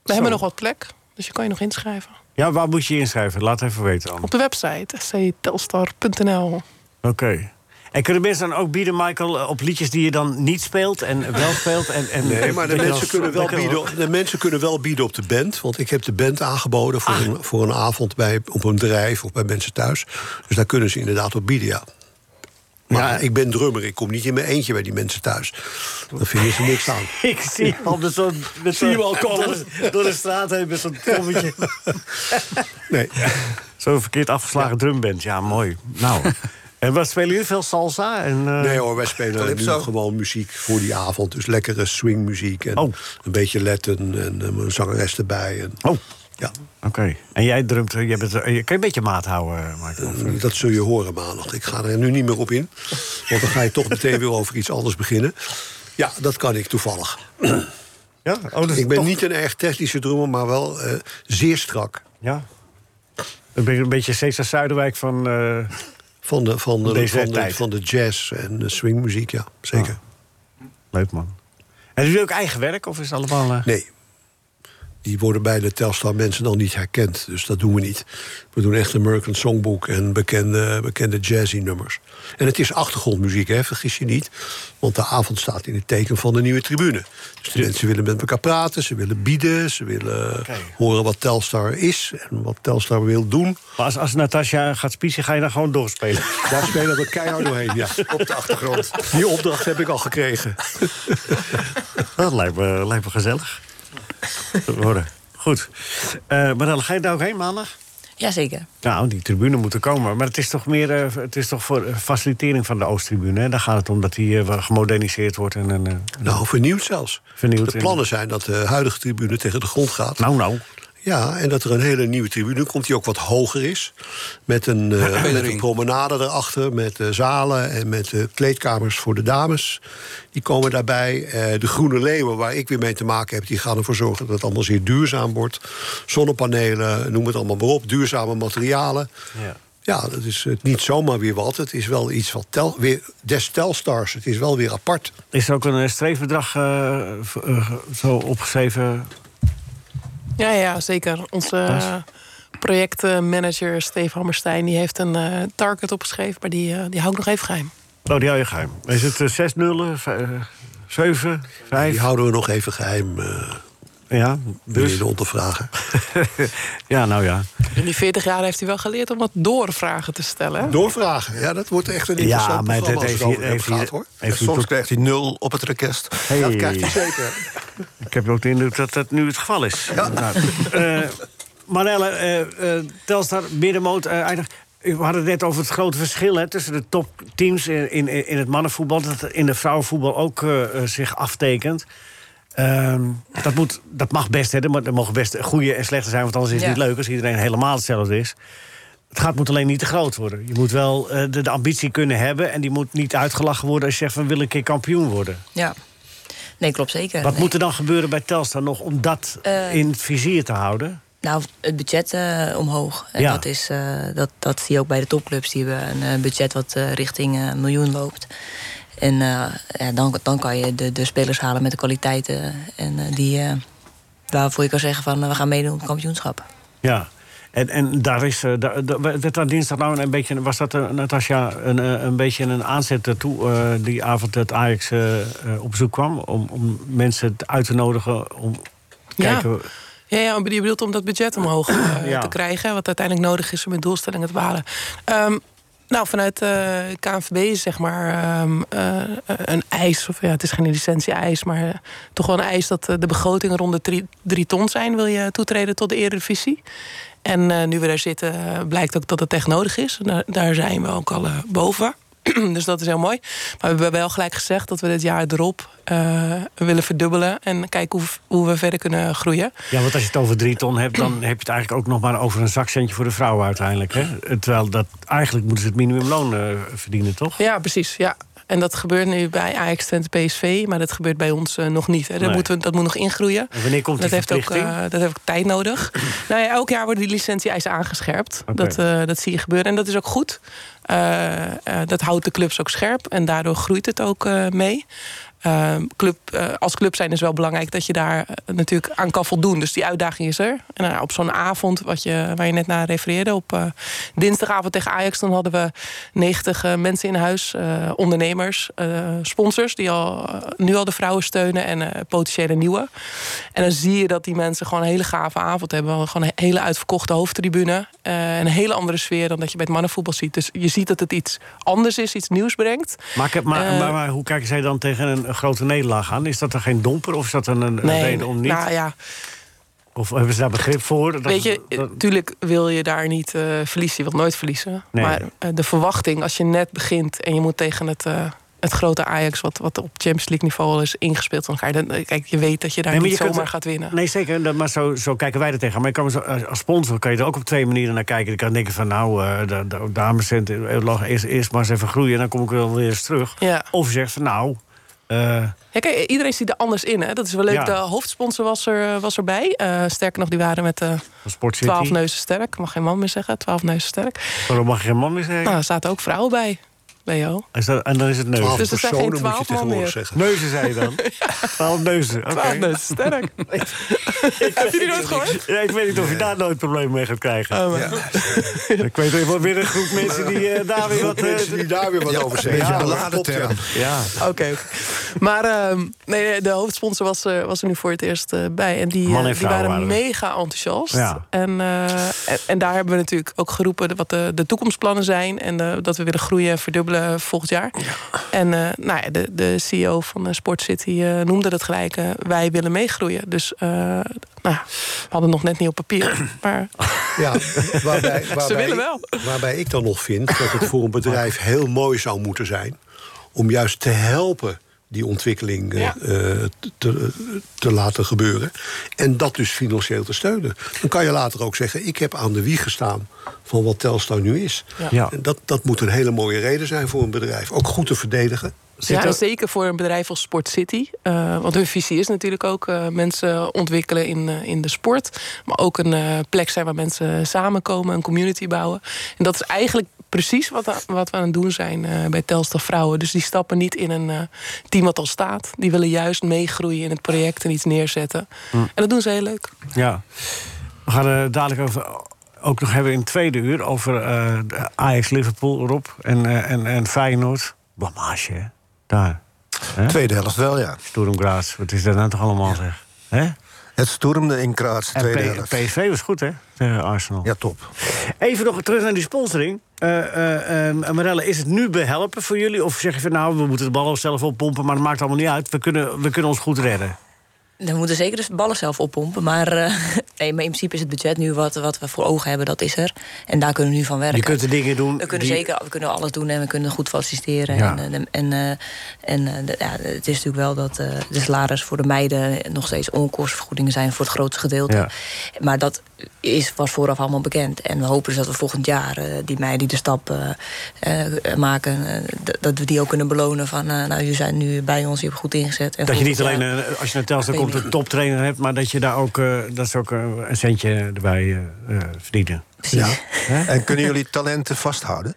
We hebben nog wat plek, dus je kan je nog inschrijven.
ja, waar moet je je inschrijven? Laat even weten dan.
Op de website sctelstar.nl.
Oké. En kunnen mensen dan ook bieden, Michael, eh, op liedjes die je dan niet speelt en wel speelt? En, en
Nee, maar de
dat je
mensen,
als-
kunnen wel
dat je
bieden, de mensen kunnen wel bieden op de band. Want ik heb de band aangeboden
Ah.
voor, een, voor een avond bij, op een bedrijf of bij mensen thuis. Dus daar kunnen ze inderdaad op bieden, ja. Maar ik ben drummer, ik kom niet in mijn eentje bij die mensen thuis. Dan vinden ze niks aan.
Ik zie hem met zo'n... met
Zie je hem al
zo'n-
komen?
Door, de- door de straat heen met zo'n trommetje.
Nee.
Zo'n verkeerd afgeslagen drumband. Ja, mooi. Nou, En wat spelen jullie veel salsa? En, eh,
Nee hoor, wij spelen
Calypso?
nu gewoon muziek voor die avond. Dus lekkere swingmuziek en een beetje Latin en eh, een zangeres erbij. En,
oh.
Ja.
Oké. En jij drumt, eh, jij bent, eh, je kan je een beetje maat houden, Mark.
Eh, Dat zul je horen maandag. Ik ga er nu niet meer op in. Want dan ga je toch meteen weer over iets anders beginnen. Ja, dat kan ik toevallig.
Ja? Oh,
ik ben niet een erg technische drummer, maar wel eh, zeer strak.
Ja. Een beetje, een beetje Cesar Zuiderwijk van... eh,
Van de, van de,
Deze
van de,
tijd.
van de jazz en de swingmuziek, ja, zeker.
Leuk man. En doe je ook eigen werk of is het allemaal... eh,
Nee. Die worden bij de Telstar mensen dan niet herkend. Dus dat doen we niet. We doen echt American Songbook en bekende, bekende jazzy nummers. En het is achtergrondmuziek, hè, vergis je niet. Want de avond staat in het teken van de nieuwe tribune. Dus de mensen willen met elkaar praten, ze willen bieden... ze willen horen wat Telstar is en wat Telstar wil doen.
Maar als, als Natasja gaat spiezen, ga je dan gewoon doorspelen?
Daar spelen we keihard doorheen, ja.
Op de achtergrond.
Die opdracht heb ik al gekregen.
Dat lijkt me, lijkt me gezellig. Worden. Goed. Eh, maar dan ga je daar ook heen maandag?
Jazeker.
Nou, die tribune moet er komen. Maar het is toch meer eh, het is toch voor eh, facilitering van de Oosttribune. Hè? Daar gaat het om dat die eh, wel gemoderniseerd wordt en, en eh,
Nou, vernieuwd zelfs.
vernieuwd.
De plannen zijn dat de huidige tribune tegen de grond gaat.
Nou, nou.
Ja, en dat er een hele nieuwe tribune komt die ook wat hoger is. Met een, eh, met een promenade erachter, met eh, zalen en met eh, kleedkamers voor de dames. Die komen daarbij. Eh, de Groene Leeuwen, waar ik weer mee te maken heb, die gaan ervoor zorgen dat het allemaal zeer duurzaam wordt. Zonnepanelen, noem het allemaal maar op. Duurzame materialen.
Ja.
Ja, dat is eh, niet zomaar weer wat. Het is wel iets wat tel, weer, des Telstars. Het is wel weer apart.
Is er ook een eh, streefbedrag eh, v- eh, zo opgeschreven?
Ja, ja, zeker. Onze eh, projectmanager Steve Hammerstein die heeft een eh, target opgeschreven, maar die, eh, die hou ik nog even geheim.
Oh, die hou je geheim. Is het eh, zes nullen, v- eh, zeven, vijf?
Die houden we nog even geheim. eh
Ja,
dus.
dus.
de ondervragen.
ja, nou ja.
In die 40 jaar heeft hij wel geleerd om wat doorvragen te stellen. hè?
Doorvragen. Ja, dat wordt echt een interessant
Ja, maar het
programma
heeft
als het
hier-
over hem
heeft hier-
gaat, hoor.
heeft
En
hier
soms
tot-
krijgt hij nul op het request.
Hey.
Dat krijgt hij zeker.
Ik heb ook de indruk dat dat nu het geval is. Nou, Ja. Eh, Marelle, eh, eh, Telstar, middenmoot, eh, eindig. We hadden het net over het grote verschil hè, tussen de topteams in, in, in het mannenvoetbal... dat het in de vrouwenvoetbal ook eh, eh, zich aftekent. Ehm, dat, moet, dat mag best, hè, er mo- er mogen best goede en slechte zijn... want anders is het
Ja.
niet leuk als iedereen helemaal hetzelfde is. Het gaat moet alleen niet te groot worden. Je moet wel eh, de, de ambitie kunnen hebben... en die moet niet uitgelachen worden als je zegt van... wil ik een keer kampioen worden.
Ja. Nee, klopt zeker.
Wat
Nee.
moet er dan gebeuren bij Telstar nog om dat
Eh,
in het vizier te houden?
Nou, het budget eh, omhoog. En
Ja.
dat, is, eh, dat, dat zie je ook bij de topclubs. Die hebben een eh, budget wat eh, richting eh, een miljoen loopt. En eh, ja, dan, dan kan je de, de spelers halen met de kwaliteiten. En eh, die, eh, waarvoor je kan zeggen van eh, we gaan meedoen op het kampioenschap.
Ja. En, en daar is, eh, daar, daar- werd daar dinsdag nou een beetje, was dat eh, Natasja, een, eh, een beetje een aanzet toe eh, die avond dat Ajax eh, eh, op bezoek kwam? Om, om mensen t- uit te nodigen om te
Ja.
kijken.
Ja, ja, maar je bedoelt om dat budget omhoog eh,
Ja.
te krijgen. Wat uiteindelijk nodig is om je doelstellingen te behalen. Ehm, nou, vanuit eh KNVB is zeg maar ehm, eh, een eis. Of, ja, het is geen licentie-eis, maar eh, toch wel een eis dat eh, de begrotingen rond de drie, drie ton zijn. Wil je toetreden tot de Eredivisie? En eh, nu we daar zitten, eh, blijkt ook dat dat echt nodig is. En Daar, daar zijn we ook al eh, boven. dus dat is heel mooi. Maar we hebben wel gelijk gezegd dat we dit jaar erop eh, willen verdubbelen. En kijken hoe, hoe we verder kunnen groeien.
Ja, want als je het over drie ton hebt, dan heb je het eigenlijk ook nog maar over een zakcentje voor de vrouwen uiteindelijk. Hè? Eh, Terwijl dat eigenlijk moeten ze het minimumloon eh, verdienen, toch?
Ja, precies. Ja. En dat gebeurt nu bij Ajax Twente PSV, maar dat gebeurt bij ons eh, nog niet. Hè. Dat,
Nee.
moeten we, dat moet nog ingroeien.
En wanneer komt die
dat, heeft ook,
verplichting?
eh, dat heeft ook tijd nodig. nou ja, elk jaar worden die licentie-eisen aangescherpt.
Oké.
Dat, eh, dat zie je gebeuren en dat is ook goed. Eh, eh, dat houdt de clubs ook scherp en daardoor groeit het ook eh, mee. Eh, club, eh, als club zijn is wel belangrijk dat je daar eh, natuurlijk aan kan voldoen. Dus die uitdaging is er. En nou ja, op zo'n avond wat je, waar je net naar refereerde, op eh, dinsdagavond tegen Ajax, dan hadden we 90 eh, mensen in huis, eh, ondernemers, eh, sponsors die al, eh, nu al de vrouwen steunen en eh, potentiële nieuwe. En dan zie je dat die mensen gewoon een hele gave avond hebben. Gewoon een hele uitverkochte hoofdtribune. eh, een hele andere sfeer dan dat je bij het mannenvoetbal ziet. Dus je ziet dat het iets anders is, iets nieuws brengt.
Maar, ik heb- maar,
Eh,
maar, maar hoe kijken zij dan tegen een, een grote nederlaag aan? Is dat er geen domper of is dat een, een reden om niet?
Nou ja.
Of hebben ze daar begrip voor? Dat-
Weet je, natuurlijk wil je daar niet eh, verliezen. Je wilt nooit verliezen.
Nee.
Maar eh, de verwachting als je net begint en je moet tegen het, eh, het grote Ajax, wat, wat op Champions League niveau al is ingespeeld van elkaar. Dan, eh, kijk, je weet dat je daar
Nee, maar
niet
je kunt
zomaar
er-
gaat winnen.
Nee, zeker. dat- Maar zo, zo kijken wij er tegenaan. Maar je kan er zo, als als sponsor kan je er ook op twee manieren naar kijken. Je kan denken van, nou, eh, da- da- dames, eh, laat eerst, eerst maar eens even groeien... en dan kom ik wel weer eens terug. Of je zegt van, nou... eh,
Ja, kijk, iedereen ziet er anders in. Hè? Dat is wel leuk.
Ja.
De hoofdsponsor was, er, was erbij. Eh, sterker nog, die waren met eh
Sport City.
12 neuzen sterk. Ik mag geen man meer zeggen. 12 neuzen sterk.
waarom mag je geen man meer zeggen?
Nou, er zaten ook vrouwen bij, Leo.
Is dat- en dan is het neus.
Twaalf Dus er zijn geen personen moet je twaalf man tegenwoordig meer. zeggen.
Neuzen zei je dan? Twaalf neuzen, oké.
12 neuzen sterk. Heb je die nooit gehoord?
Ja, ik weet niet of je daar nooit problemen mee gaat krijgen.
Oh,
Ja. ik weet even weer een groep mensen die eh, daar weer wat... eh,
Mensen die daar weer wat over zeggen.
Ja,
dat
beladen
klopt,
term. Ja.
Oké. oké. Maar ehm, nee, nee, de hoofdsponsor was, er- was er nu voor het eerst eh, bij. En die,
Man en
eh, die
vrouw
waren,
waren er.
mega enthousiast.
Ja.
En, eh, en, en daar hebben we natuurlijk ook geroepen wat de, de toekomstplannen zijn. En eh, dat we willen groeien en verdubbelen volgend jaar. En eh, nou ja, de, de CEO van eh, Sport City eh, noemde dat gelijk. eh, wij willen meegroeien. Dus eh, nou, ja, we hadden nog net niet op papier. Maar
Ja, waarbij,
Ze
waarbij,
willen wel.
Waarbij ik dan nog vind dat het voor een bedrijf heel mooi zou moeten zijn... om juist te helpen die ontwikkeling eh,
Ja.
eh, te, te laten gebeuren. En dat dus financieel te steunen. Dan kan je later ook zeggen, ik heb aan de wieg gestaan van wat Telstar nu is.
Ja. Ja.
En dat, dat moet een hele mooie reden zijn voor een bedrijf. Ook goed te verdedigen.
ja, en zeker voor een bedrijf als Sport City. Eh, want hun visie is natuurlijk ook eh, mensen ontwikkelen in, eh, in de sport. Maar ook een eh, plek zijn waar mensen samenkomen, een community bouwen. En dat is eigenlijk precies wat, we- wat we aan het doen zijn eh, bij Telstar Vrouwen. Dus die stappen niet in een eh, team wat al staat. Die willen juist meegroeien in het project en iets neerzetten.
Hm.
En dat doen ze heel leuk.
Mm, Ja. We gaan eh, dadelijk over, ook nog hebben in het tweede uur over eh, de Ajax-Liverpool, Rob. En, eh, en, en Feyenoord. Blamage, hè? Daar. Hè?
Tweede helft wel, ja.
Sturm Graz, wat is dat nou toch allemaal, zeg? Hè?
Het stormde in Kraats, de
En
tweede
P-
helft.
PSV was goed, hè? Tegen Arsenal.
Ja, top.
Even nog terug naar die sponsoring. Eh eh, eh, Marelle, is het nu behelpen voor jullie? Of zeg je van, nou, we moeten de ballen zelf oppompen... maar dat maakt allemaal niet uit, we kunnen, we kunnen ons goed redden?
Dan moeten zeker dus de ballen zelf oppompen. Maar, eh, nee, maar in principe is het budget nu wat, wat we voor ogen hebben, dat is er. En daar kunnen we nu van werken.
Je kunt de dingen doen
We kunnen
die-
zeker we kunnen alles doen en we kunnen goed faciliteren.
Ja.
En, eh, en, eh, en eh, de- ja, het is natuurlijk wel dat eh, de salaris voor de meiden nog steeds onkostenvergoedingen zijn voor het grootste gedeelte.
Ja.
Maar dat is, was vooraf allemaal bekend. En we hopen dus dat we volgend jaar eh, die meiden die de stap eh, eh, maken, eh, d- dat we die ook kunnen belonen van eh, nou, jullie zijn nu bij ons, je hebt goed ingezet. En
dat je
volgend
niet
jaar-
alleen, eh, als je naar Telstar komt, een toptrainer hebt... maar dat je daar ook, eh, dat ze ook eh, een centje erbij eh, eh, verdienen.
Ja.
Hè?
En kunnen jullie talenten vasthouden?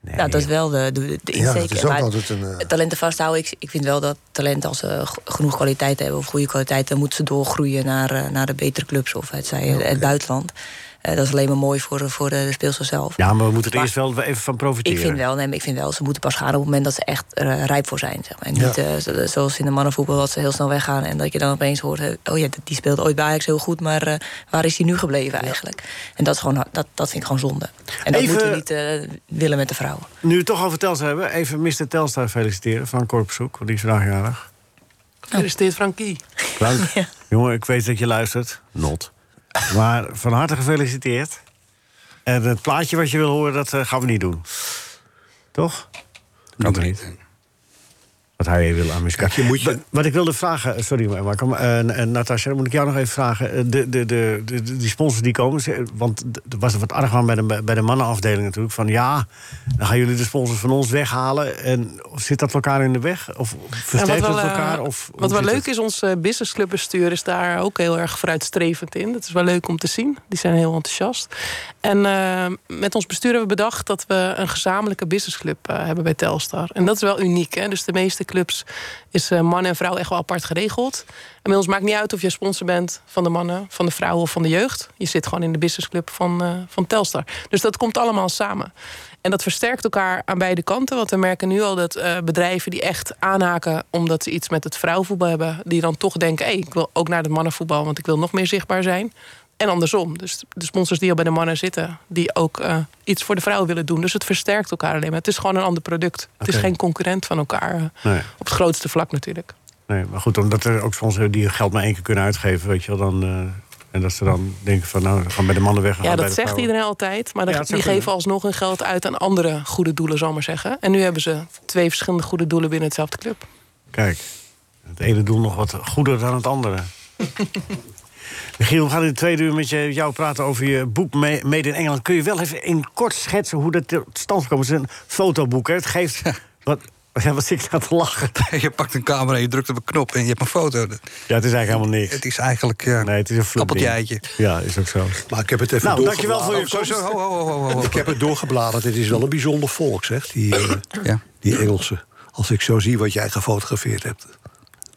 Nou, dat is wel de, de, de
Ja, dat
insteek.
is ook
Maar
altijd een, eh,
Talenten vasthouden, ik, ik vind wel dat talenten als ze g- genoeg kwaliteit hebben... of goede kwaliteit, dan moeten ze doorgroeien naar, eh, naar de betere clubs... of het, zij, het buitenland. Eh, dat is alleen maar mooi voor, de- voor de, de speelster zelf.
Ja, maar we moeten er eerst wel even van profiteren.
Ik vind wel, nee, maar ik vind wel, ze moeten pas gaan op het moment dat ze echt eh, rijp voor zijn. Zeg maar. En niet eh, zo- zoals in de mannenvoetbal, dat ze heel snel weggaan. En dat je dan opeens hoort, eh, oh ja, die speelde ooit bij Ajax heel goed, maar eh, waar is hij nu gebleven eigenlijk? En dat, is gewoon, dat, dat vind ik gewoon zonde. En dat
Even-
moeten we niet eh, willen met de vrouwen.
Nu we het toch over Telstar hebben, even Mr. Telstar feliciteren van Korpshoek. Want die is vandaag jarig.
Gefeliciteerd, Frankie.
Dank. Jongen, ik weet dat je luistert. Not. Maar van harte gefeliciteerd. En het plaatje wat je wil horen, dat eh, gaan we niet doen. Toch? Kan toch niet? Wat hij wil aan muziek. Wa- Wat ik wilde vragen, sorry Marco, maar, eh, eh, Natasja, dan moet ik jou nog even vragen. Eh, De, de, de, de, de- die sponsors die komen, ze- eh, want d- er was wat argwaan bij de, bij de mannenafdeling natuurlijk. Van ja, dan gaan jullie de sponsors van ons weghalen. En zit dat elkaar in de weg? Of versterkt
Ja,
het
wat wel, eh,
elkaar? Of hoe
wat wel
zit
leuk
het?
is, ons eh, businessclubbestuur is daar ook heel erg vooruitstrevend in. Dat is wel leuk om te zien. Die zijn heel enthousiast. En eh, met ons bestuur hebben we bedacht dat we een gezamenlijke businessclub eh, hebben bij Telstar. En dat is wel uniek. Hè? Dus de meeste clubs is eh, man en vrouw echt wel apart geregeld. En bij ons maakt niet uit of je sponsor bent van de mannen, van de vrouwen of van de jeugd. Je zit gewoon in de businessclub van, eh, van Telstar. Dus dat komt allemaal samen. En dat versterkt elkaar aan beide kanten. Want we merken nu al dat eh, bedrijven die echt aanhaken omdat ze iets met het vrouwenvoetbal hebben, die dan toch denken: hé, ik wil ook naar het mannenvoetbal, want ik wil nog meer zichtbaar zijn. En andersom. Dus de sponsors die al bij de mannen zitten, die ook eh, iets voor de vrouwen willen doen. Dus het versterkt elkaar alleen maar. Het is gewoon een ander product. Het is
Oké.
geen concurrent van elkaar. eh,
Nee.
Op het grootste vlak natuurlijk.
Nee, maar goed, omdat er ook sponsoren die geld maar één keer kunnen uitgeven, weet je wel, dan. eh, En dat ze dan denken van, nou, we gaan bij de mannen weg. we
Ja,
gaan bij
dat
de
zegt
vrouwen.
iedereen altijd. Maar dan-
Ja, dat zou
die
kunnen.
geven alsnog hun geld uit aan andere goede doelen, zal ik maar zeggen. En nu hebben ze twee verschillende goede doelen binnen hetzelfde club.
Kijk, het ene doel nog wat goeder dan het andere. Michiel, we gaan in de tweede uur met je- met jou praten over je boek Me- Made in Engeland. Kun je wel even in kort schetsen hoe dat tot stand gekomen is? Het is een fotoboek, hè? Het geeft... Wat, ja, wat zit ik nou te lachen?
Je pakt een camera, en je drukt op een knop en je hebt een foto.
Ja, het is eigenlijk helemaal niks.
Het is eigenlijk ja, nee,
het is een
appeltje eitje.
Ja, is ook zo.
Maar ik heb het even
Nou,
doorgebladerd.
dankjewel voor je Oh, komst. zo, zo, ho, ho, ho, ho, ho.
Ik heb het doorgebladerd. Het is wel een bijzonder volk, zeg, die, eh,
Ja.
die Engelsen. Als ik zo zie wat jij gefotografeerd hebt.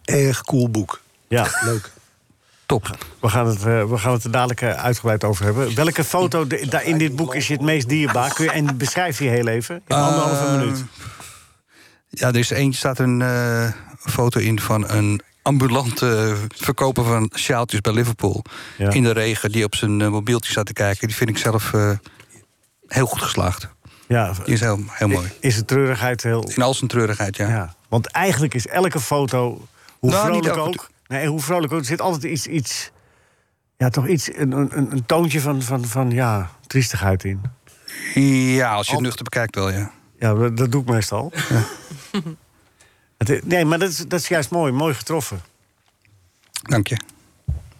Erg cool boek.
Ja.
Leuk.
Top.
We gaan het, eh, we gaan het er dadelijk eh, uitgebreid over hebben. Welke foto de- daar in dit boek is je het meest dierbaar? Kun je, en beschrijf die heel even. In anderhalve
Eh,
minuut.
Ja, er is één, staat een eh, foto in van een ambulante verkoper van sjaaltjes bij Liverpool. In de regen, die op zijn eh, mobieltje staat te kijken. Die vind ik zelf eh, heel goed geslaagd.
Ja,
Die is heel, heel mooi.
Is de treurigheid heel...
In al zijn treurigheid, ja.
Want eigenlijk is elke foto, hoe
Nou, niet
vrolijk
elke
ook... Nee, hoe vrolijk ook, er zit altijd iets... iets ja, toch iets, een, een, een- een toontje van, van, van ja, triestigheid in.
Ja, als je het nuchter bekijkt wel, ja.
Ja, dat, dat doe ik meestal. Het is- nee, maar dat is, dat is juist mooi. Mooi getroffen.
Dank je.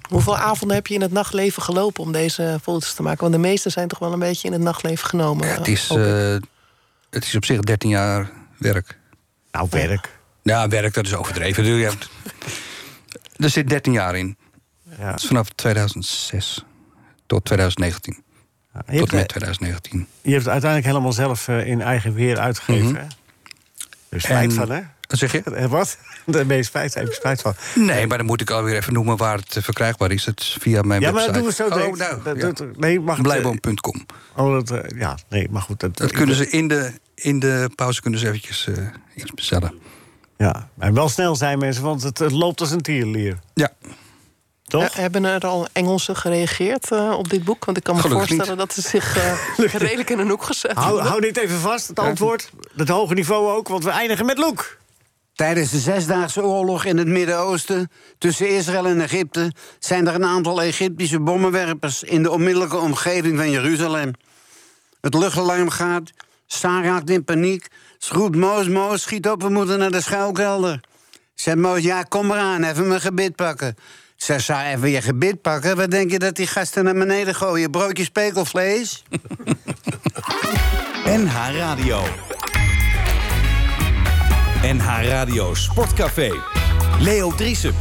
Hoeveel avonden heb je in het nachtleven gelopen om deze foto's te maken? Want de meeste zijn toch wel een beetje in het nachtleven genomen.
Het is,
hoop ik.
eh, het is op zich 13 jaar werk.
Nou, werk.
Ja, werk, dat is overdreven. Je hebt- Er zit 13 jaar in.
Ja.
Dat is vanaf 2006 tot 2019.
je
tot
hebt,
en met
eh,
2019.
Je hebt het uiteindelijk helemaal zelf eh, in eigen weer uitgegeven. hè? Er is spijt
Mhm. En-
van, hè?
Wat zeg je?
Eh, Wat? Daar ben je spijt, heb je spijt van.
Nee, maar dan moet ik alweer even noemen waar het eh, verkrijgbaar is. Het is via mijn
ja, maar
website.
dat doen we zo. denk ik.
Oh,
Dat-
nou,
dat- nee, mag
ja.
het, eh,
Blijboom.com.
Oh, dat, eh, ja, nee, maar goed. Dat,
Dat kunnen ze in de, in de pauze kunnen ze eventjes eh, iets bestellen.
Ja, en wel snel zijn mensen, want het, het loopt als een tierlier.
Ja.
Toch?
Eh, Hebben er al Engelsen gereageerd eh, op dit boek? Want ik kan me
Gelukkig
voorstellen dat ze zich eh, redelijk in een hoek gezet
Hou,
hebben.
hou dit even vast, het antwoord. Het hoge niveau ook, want we eindigen met Loek.
Tijdens de Zesdaagse Oorlog in het Midden-Oosten tussen Israël en Egypte zijn er een aantal Egyptische bommenwerpers in de onmiddellijke omgeving van Jeruzalem. Het luchtalarm gaat, Staan raakt in paniek, schroept Moos, Moos, schiet op, we moeten naar de schuilkelder. Zegt Moos, ja, kom maar aan, even mijn gebit pakken. Zegt Saar, even je gebit pakken? Wat denk je dat die gasten naar beneden gooien? Broodje spekelvlees?
NH Radio. NH Radio Sportcafé. Leo Driesen.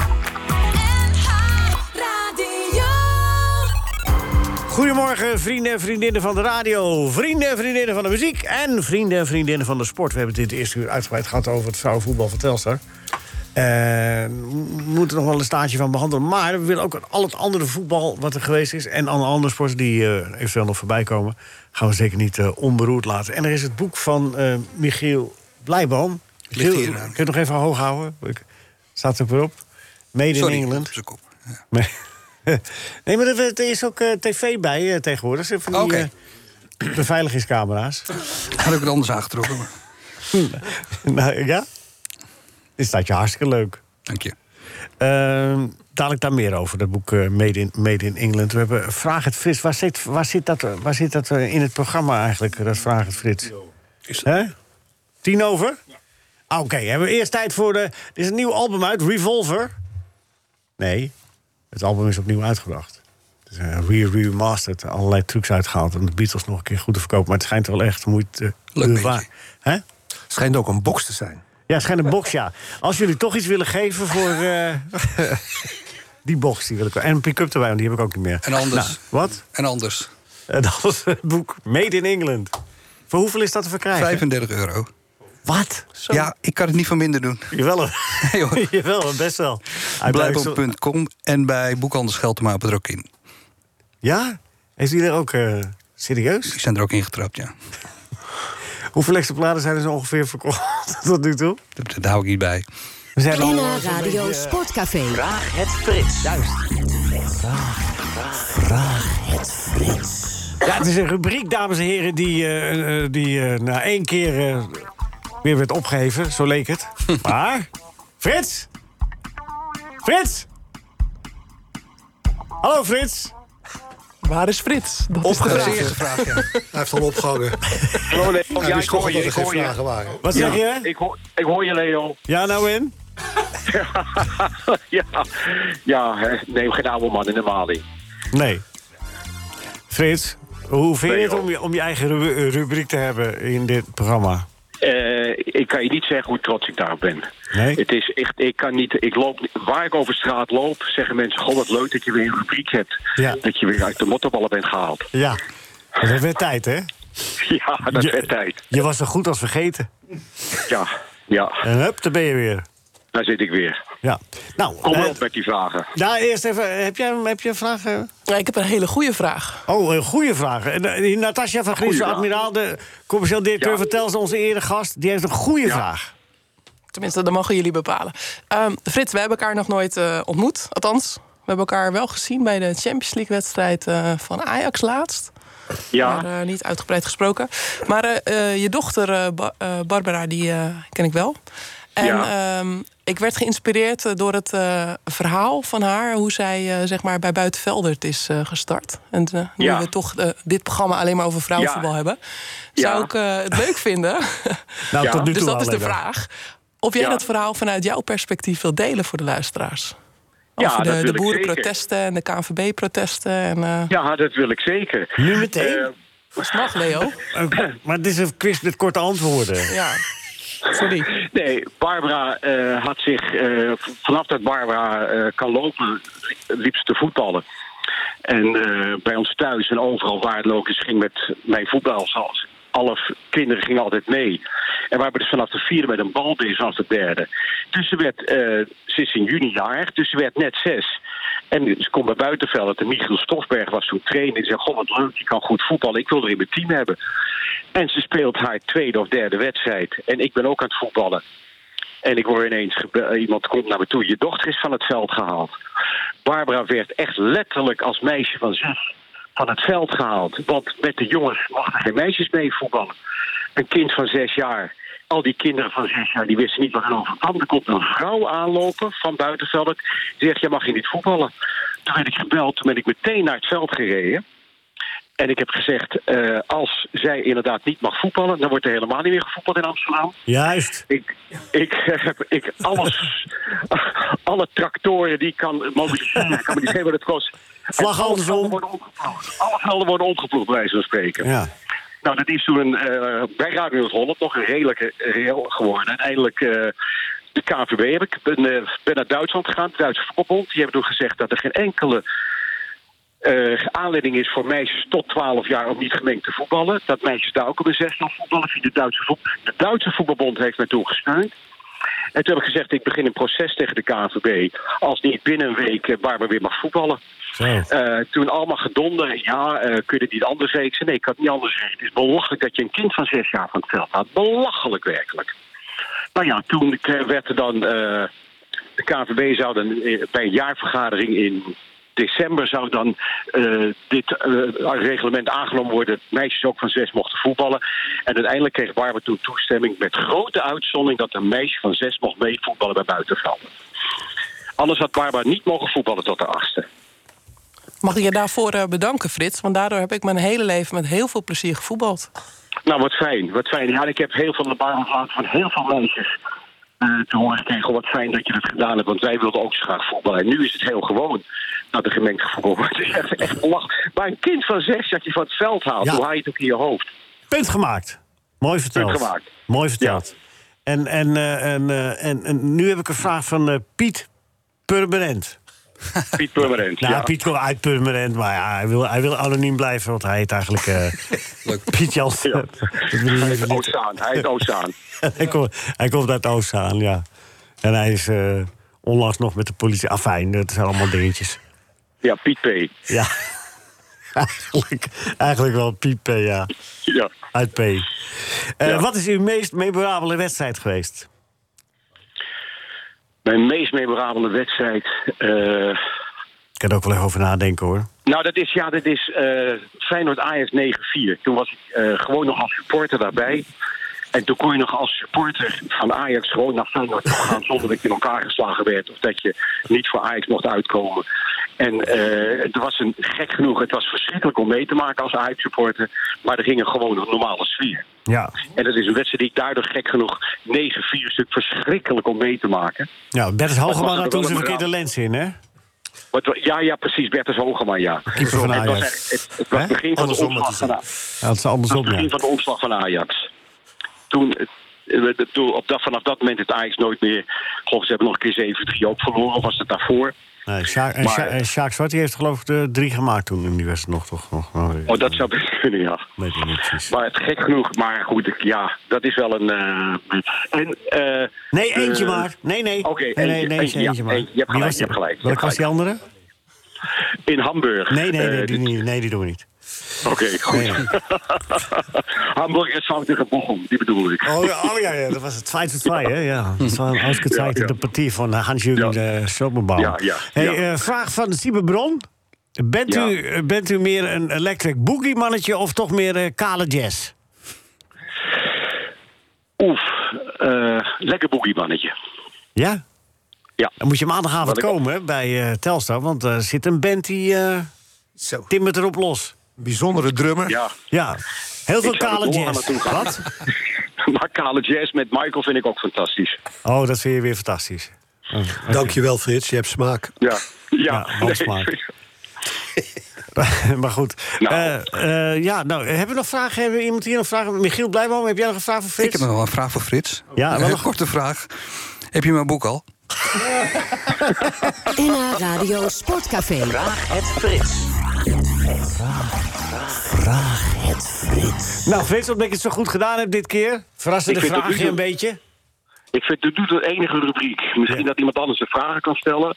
Goedemorgen, vrienden en vriendinnen van de radio, vrienden en vriendinnen van de muziek en vrienden en vriendinnen van de sport. We hebben het in het eerste uur uitgebreid gehad over het vrouwenvoetbal van Telstar. Eh, we moeten er nog wel een staartje van behandelen. Maar we willen ook al het andere voetbal wat er geweest is... en alle andere sporten die eh, eventueel nog voorbij komen... gaan we zeker niet eh, onberoerd laten. En er is het boek van eh, Michiel Blijboom.
Ligt hier,
Michiel,
nou.
kun je het nog even hoog houden? Ik- Staat er weer op. Mede
Sorry,
in Engeland.
op zijn kop.
Maar- nee, maar er, er is ook eh, tv bij eh, tegenwoordig. Ze hebben Van die
Oké.
eh, beveiligingscamera's.
Had ik het anders aangetrokken. maar-
nou, ja? Dit staat je hartstikke leuk. Ehm,
Dank je.
dadelijk daar meer over, dat boek eh, Made, in, Made in England. We hebben Vraag het Frits. Waar zit, waar zit dat, eh, waar zit dat eh, in het programma eigenlijk, eh, dat Vraag het Frits? Hè? Tien over? Ah, Oké, hebben we eerst tijd voor de... Er is een nieuw album uit, Revolver. Nee, het album is opnieuw uitgebracht. Het is een re- remastered, allerlei trucs uitgehaald... om de Beatles nog een keer goed te verkopen. Maar het schijnt wel echt de moeite... Leuk Hè?
Schijnt ook een box te zijn.
Ja, het schijnt een box, ja. Als jullie toch iets willen geven voor... eh, die box, die wil ik wel. En een pick-up erbij, want die heb ik ook niet meer.
En anders.
Nou, wat?
En anders.
Eh, Dat was het boek Made in England. Voor hoeveel is dat te verkrijgen?
35 euro.
Wat?
Ja, ik kan het niet van minder doen.
Jawel, Jawel best wel. Uit Duitsland.
Blijboom.com en bij boekhandel Scheltema er ook in.
Ja? Is die er ook eh, serieus?
Die zijn er ook ingetrapt, ja.
Hoeveel exemplaren zijn er zo ongeveer verkocht tot nu toe?
Dat, dat hou ik niet bij.
We zijn al-
NH Radio Sportcafé. Vraag het Frits.
Vraag het Frits. Ja, het is een rubriek, dames en heren, die, eh, eh, die eh, na één keer eh, weer werd opgeheven. Zo leek het. Maar... Frits! Frits! Hallo Frits.
Waar is Frits? Dat is de
Opgevraagd.
vraag.
Hij heeft al opgehangen.
Oh,
Hallo Leo.
Hij
Oh, Ja,
wist
ik
toch
hoor
al
je.
dat er
Ik
geen
hoor je.
vragen waren.
Wat
Ja,
zeg je?
Ik hoor, ik hoor je, Leo.
Ja, nou in?
ja, ja hè. neem geen oude man in de maling.
Nee. Frits, hoe vind je
Nee,
het
joh.
om je, om je eigen ru- rubriek te hebben in dit programma?
Eh, ik kan je niet zeggen hoe trots ik daarop ben.
Nee?
Het is echt, ik kan niet, ik loop, niet- waar ik over straat loop, zeggen mensen, goh, wat leuk dat je weer een rubriek hebt.
Ja.
Dat je weer uit de mottoballen bent gehaald.
Ja. Dat werd tijd, hè?
Ja, dat
Je-
werd tijd.
Je was zo goed als vergeten.
Ja, ja,
En hup, daar ben je weer.
daar zit ik weer.
Ja. Nou,
Kom
eh,
maar op met die vragen.
nou eerst even, heb jij, heb jij vragen?
Ja, ik heb een hele goede vraag.
Oh, een goede vraag. Eh, die Natasja van
Goeie
Griesel,
vraag.
admiraal, de commercieel directeur
Ja.
van Tels, onze eregast, die heeft een goede
Ja.
vraag.
Tenminste, dat mogen jullie bepalen. Ehm, Frits, we hebben elkaar nog nooit eh, ontmoet. Althans, we hebben elkaar wel gezien bij de Champions League-wedstrijd eh, van Ajax laatst.
Ja,
Maar eh, niet uitgebreid gesproken. Maar eh, eh, je dochter, eh, Ba- eh, Barbara, die eh, ken ik wel. En
Ja.
ehm, ik werd geïnspireerd eh, door het eh, verhaal van haar. Hoe zij eh, zeg maar bij Buitenveldert is eh, gestart. En eh, nu
Ja.
we toch eh, dit programma alleen maar over vrouwenvoetbal
Ja.
hebben.
Ja.
Zou ik eh, het leuk vinden.
Nou,
Ja.
tot nu toe
dus dat
wel
is de
lekker.
vraag. Of jij
Ja.
dat verhaal vanuit jouw perspectief wilt delen voor de luisteraars?
Ja, dat
Over de,
wil
de
ik zeker.
boerenprotesten en de KNVB-protesten. En, eh
ja dat wil ik zeker.
Nu meteen?
Eh,
Slag, Leo.
Eh, maar dit is een quiz met korte antwoorden.
Ja. Sorry.
Nee, Barbara eh, had zich. eh, v- vanaf dat Barbara eh, kan lopen, liep ze te voetballen. En eh, bij ons thuis en overal waar het leuk is, ging met mijn voetbalzaal. Alle v- kinderen gingen altijd mee. En we hebben dus vanaf de vierde met een bal bezig, vanaf de derde. Dus ze werd. eh, ze is in juni jarig, dus ze werd net zes. En ze komt bij buitenveld. En Michiel Stofberg was toen trainer. Die zei: Goh, wat leuk, je kan goed voetballen. Ik wil er in mijn team hebben. En ze speelt haar tweede of derde wedstrijd. En ik ben ook aan het voetballen. En ik hoor ineens, gebe- eh, iemand komt naar me toe, je dochter is van het veld gehaald. Barbara werd echt letterlijk als meisje van zes van het veld gehaald. Want met de jongens mochten geen meisjes mee voetballen. Een kind van zes jaar. Al die kinderen van zes jaar, die wisten niet waar het over kwam. Er komt een vrouw aanlopen van buitenveld. Die zegt, jij mag hier niet voetballen. Toen werd ik gebeld, toen ben ik meteen naar het veld gereden. En ik heb gezegd, eh, als zij inderdaad niet mag voetballen... dan wordt er helemaal niet meer gevoetbald in Amsterdam.
Juist.
Ik, ik heb ik alles, alle tractoren die ik kan mobiliseren, ik kan me niet geven wat het kost.
Vlag
En alle
andersom.
velden worden omgeploegd. Alle velden worden omgeploegd, bij wijze van spreken.
Ja.
Nou, dat is toen een, eh, bij Radio Holland nog een redelijke reel geworden. Uiteindelijk eh, de KNVB heb ik, ben, eh, ben naar Duitsland gegaan, het Duitse voetbalbond. Die hebben toen gezegd dat er geen enkele eh, aanleiding is voor meisjes tot 12 jaar om niet gemengd te voetballen. Dat meisjes daar ook op een zes nog voetballen via de Duitse voet. De Duitse voetbalbond heeft mij toen gesteund. En toen heb ik gezegd, ik begin een proces tegen de KNVB... als niet binnen een week eh, Barbara weer mag voetballen.
Zo.
Eh, toen allemaal gedonder, ja, eh, kun je het niet anders zeggen? Ik zei, nee, ik kan het niet anders zeggen. Het is belachelijk dat je een kind van zes jaar van het veld haalt. Belachelijk werkelijk. Nou ja, toen k- werd er dan... eh, de KNVB zou dan eh, bij een jaarvergadering in december... zou dan eh, dit eh, reglement aangenomen worden... dat meisjes ook van zes mochten voetballen. En uiteindelijk kreeg Barbara toen toestemming... met grote uitzondering dat een meisje van zes mocht meevoetballen bij buitenvelden. Anders had Barbara niet mogen voetballen tot de achtste.
Mag ik je daarvoor eh, bedanken, Frits? Want daardoor heb ik mijn hele leven met heel veel plezier gevoetbald.
Nou, wat fijn, wat fijn. Ja, ik heb heel veel aan de baan gehad van heel veel meisjes. eh, te horen gekregen, wat fijn dat je dat gedaan hebt, want wij wilden ook zo graag voetballen. En nu is het heel gewoon dat er gemengd voetbal wordt. Het is echt, echt belachelijk. Maar een kind van zes dat je van het veld haalt,
Ja.
hoe haal je het ook in je hoofd?
Punt gemaakt. Mooi verteld.
Punt gemaakt.
Mooi verteld. En, en, eh, en, eh, en, en nu heb ik een vraag van eh, Piet Purmerend.
Piet Purmerend.
Nou,
ja.
Piet komt uit Purmerend, maar ja, hij, wil, hij wil anoniem blijven, want hij heet eigenlijk eh, Piet Jansen.
Ja.
Dat wil ik even
Hij is
niet.
Oostzaan, hij is Oostzaan.
hij, komt, hij komt uit Oostzaan, ja. En hij is eh, onlangs nog met de politie. Afijn, dat zijn allemaal dingetjes.
Ja, Piet P.
Ja, eigenlijk, eigenlijk wel Piet P, ja.
Ja.
Uit P. Eh,
Ja.
Wat is uw meest memorabele wedstrijd geweest?
Mijn meest memorabele wedstrijd... eh,
Ik kan er ook wel even over nadenken hoor.
Nou, dat is, ja, dat is eh Feyenoord Ajax 9-4. Toen was ik eh, gewoon nog als supporter daarbij. En toen kon je nog als supporter van Ajax gewoon naar Feyenoord toe gaan... zonder dat je in elkaar geslagen werd of dat je niet voor Ajax mocht uitkomen. En eh, het was een, gek genoeg, het was verschrikkelijk om mee te maken als Ajax-supporter. Maar er ging een gewone normale sfeer.
Ja.
En dat is een wedstrijd die ik daardoor gek genoeg 9-4 stuk verschrikkelijk om mee te maken.
Ja, Bertus
Maar
Halgeman
het
had
was
toen
ook
zijn
wel
verkeerde lens in, hè?
Maar het wa- ja, ja, precies, Bertus Hogema, ja.
Keeper van
Het was,
Ajax.
echt- het, het was
Hè?
het begin van de
Andersom
omslag van A-
Ja, het is andersom,
het
ja.
begin van de omslag van Ajax. Toen, eh, we- de- toen op dat, vanaf dat moment het Ajax nooit meer... Goh, ze hebben nog een keer 7-3 ook verloren, of was het daarvoor?
Nee, Sjaak, en
Maar-
Sja- en Sjaak Zwart die heeft geloof ik de drie gemaakt toen in die wedstrijd nog, toch? Nog, eh, nog-
Oh, dat zou best kunnen, ja. Maar het gek genoeg, maar goed, ik- ja, dat is wel een... eh, en, eh,
Nee,
de-
eentje maar. Nee, nee.
Oké,
nee, nee,
eentje,
nee,
eentje, ja,
eentje maar.
eentje. Je hebt
Wie
gelijk,
was
je hebt gelijk, je
Welke
hebt
was die andere?
In Hamburg.
Nee, nee,
eh,
nee,
de-
die, niet, nee die doen we niet.
Oké, goed. Hamburg is fouten Bochum, die bedoel ik.
Oh ja, oh, ja, ja, dat was het 2 zu 2, hè? Ja. Dat was een
Ja, ja.
ausgezeichnete partij van eh, Hans-Jürgen ja.
Ja, ja,
Hey,
ja.
eh, vraag van Sieberbron. Bent,
Ja.
u, eh, bent u meer een electric boogie mannetje of toch meer eh, kale jazz?
Oef, eh, lekker boogiebannetje.
Ja?
Ja.
Dan moet je maandagavond
Wat ik-
komen hè, bij eh, Telstar, want er zit een band die eh timmert erop los.
Bijzondere drummer.
Ja.
Ja, heel veel
Ik zou er
kale
morgen
jazz.
naartoe gaan.
Wat?
maar kale jazz met Michael vind ik ook fantastisch.
Oh, dat vind je weer fantastisch. Oh,
Dankjewel, Frits. Je hebt smaak.
Ja, ja.
handsmaak. maar goed.
Nou.
Eh, eh, ja, nou, hebben we nog vragen? Hebben we iemand hier nog vragen? Michiel Blijboom, heb jij nog een vraag voor
Ik
Frits?
heb nog wel een vraag voor Frits.
Ja, wel
een
een-
korte vraag. Heb je mijn boek al?
NH Radio Sportcafé. Vraag het Frits.
Vraag het Frits. Nou, Frits, omdat ik het zo goed gedaan heb dit keer. Verrassende
Ik vind het
vraagje
ook
een beetje.
Ik vind het doet de enige rubriek. Misschien dat iemand anders de vragen kan stellen.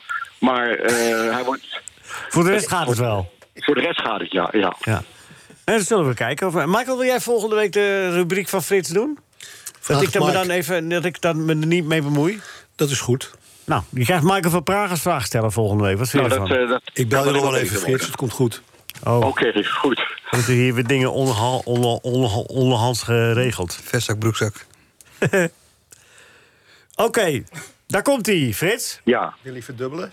Maar eh, hij wordt...
Voor de rest gaat het wel.
Voor de rest gaat het, ja. ja.
Ja. En dan zullen we kijken. Of, Michael, wil jij volgende week de rubriek van Frits doen?
Vraag
dat ik dan me
Mike.
dan even, dat ik dan me er niet mee bemoei?
Dat is goed.
Nou, je krijgt Michael van Praag als vraag stellen volgende week. Wat vind
Nou,
je
dat,
ervan?
eh, dat
Ik bel
kan
je nog
wel
wel even,
beter
Frits. Het komt goed.
oh,
Oké, goed.
dat er hier weer dingen onderha- onder- onder- onderhands geregeld.
Vestzak, broekzak.
Oké, daar komt hij, Frits.
Ja.
Wil je verdubbelen?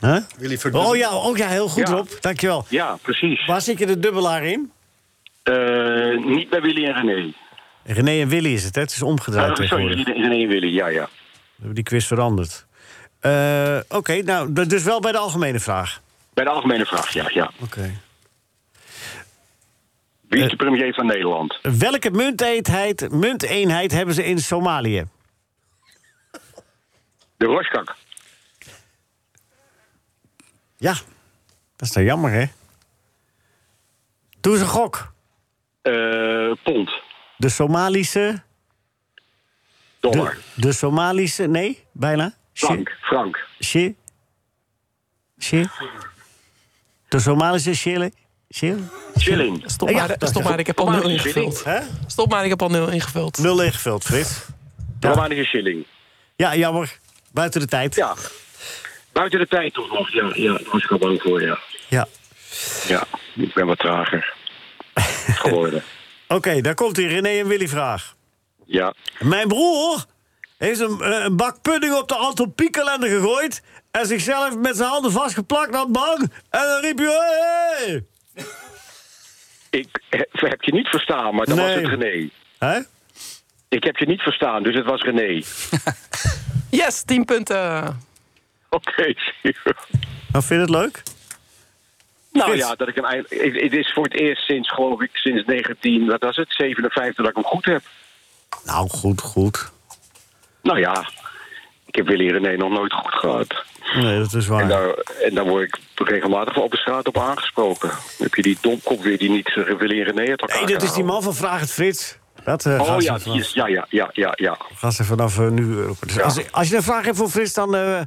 Huh?
Wil je
Oh ja, ook ja, heel goed
Ja.
op. Dankjewel.
Ja, precies.
Waar zit je de dubbelaar in?
Eh, niet bij Willy en René.
René en Willy is het, hè? Het is omgedraaid
Eh, sorry,
tegenwoordig. We
René en Willy, ja, ja.
hebben die quiz veranderd. Eh, Oké, nou, dat dus wel bij de algemene vraag.
Bij de algemene vraag, ja. ja.
Oké.
Wie is de premier van Nederland?
Welke munteenheid, munteenheid hebben ze in Somalië?
De Roskak.
Ja, dat is dan jammer, hè? Doe eens een gok.
Eh, pond.
De Somalische...
Dollar.
De, de Somalische... Nee, bijna. Shi-
Frank. Frank.
shi- shi- De Somalische shille... Shille?
Chilling.
Stop maar,
Ja,
stop maar, ik heb al nul ingevuld.
Hè?
Stop maar, ik heb al nul ingevuld.
Nul ingevuld, Frits.
Romanische shilling.
Ja, jammer. Buiten de tijd.
Ja. Buiten de tijd toch nog, ja. ja daar was ik al bang voor, ja.
Ja.
Ja, ik ben wat trager geworden.
Oké, daar komt die René en Willy vraag.
Ja.
Mijn broer heeft een, eh, een bak pudding op de Anton Piekelender gegooid... en zichzelf met zijn handen vastgeplakt aan de bank. En dan riep je... Hey!
Ik he- heb je niet verstaan, maar dan was
Nee.
het René.
Hè?
Ik heb je niet verstaan, dus het was René.
Yes, 10 punten.
Oké,
Nou, vind je het leuk?
Nou
Frits.
ja, dat ik hem eind- ik- het is voor het eerst sinds, geloof ik, sinds 19, wat was het, 57 dat ik hem goed heb.
Nou, goed, goed.
Nou ja, ik heb Willy René nog nooit goed gehad.
Nee, dat is
En
waar.
daar, en daar word ik regelmatig op de straat op aangesproken. Dan heb je die domkop weer die niet eh, Willy en René het elkaar
Hey, dat is die
gehouden.
man van Vraag het Frits. Dat eh
Oh
gaat,
ja,
ze
die
vanaf,
is, ja, ja, ja, ja, ja.
gaat ze vanaf eh, nu weer op. Dus als, als je een vraag hebt voor Frits, dan eh,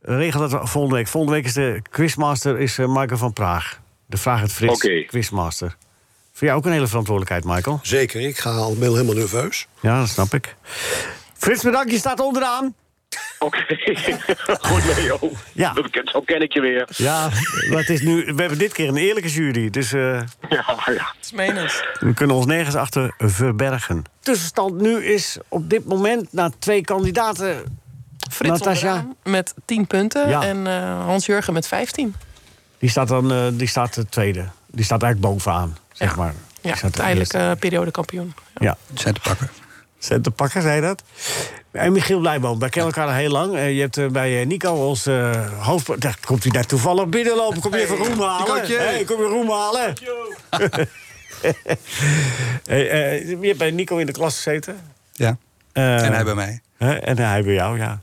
regel dat volgende week. Volgende week is de quizmaster is, eh, Michael van Praag. De Vraag het Frits
Oké.
quizmaster. Voor jou ook een hele verantwoordelijkheid, Michael.
Zeker, ik ga al helemaal nerveus.
Ja, dat snap ik. Frits, bedankt. Je staat onderaan.
Oké, goed Leo.
Ja.
Dat ken- Zo ken ik je weer.
Ja, maar het is nu, we hebben dit keer een eerlijke jury. Dus eh,
Ja, ja.
Dat is menens.
we kunnen ons nergens achter verbergen. Tussenstand nu is op dit moment na twee kandidaten
Frits
Natasja.
onderaan met 10 punten
Ja.
en eh, Hans-Jurgen met 15.
Die staat dan eh, die staat de tweede. Die staat eigenlijk bovenaan, zeg maar. Die
Ja,
staat de
uiteindelijk
eerste.
periode periodekampioen.
Ja.
Centerpakker.
Centerpakker, zei je dat? En Michiel Blijboom, wij kennen elkaar al heel lang. Eh, Je hebt eh, bij eh, Nico ons eh hoofd... Daar komt hij daar toevallig binnenlopen. Kom je even roem halen?
Nicootje.
Hey, kom je roem halen? Hey, eh, je hebt bij Nico in de klas gezeten.
Ja.
Eh,
en hij bij mij.
Hè? En hij bij jou, ja.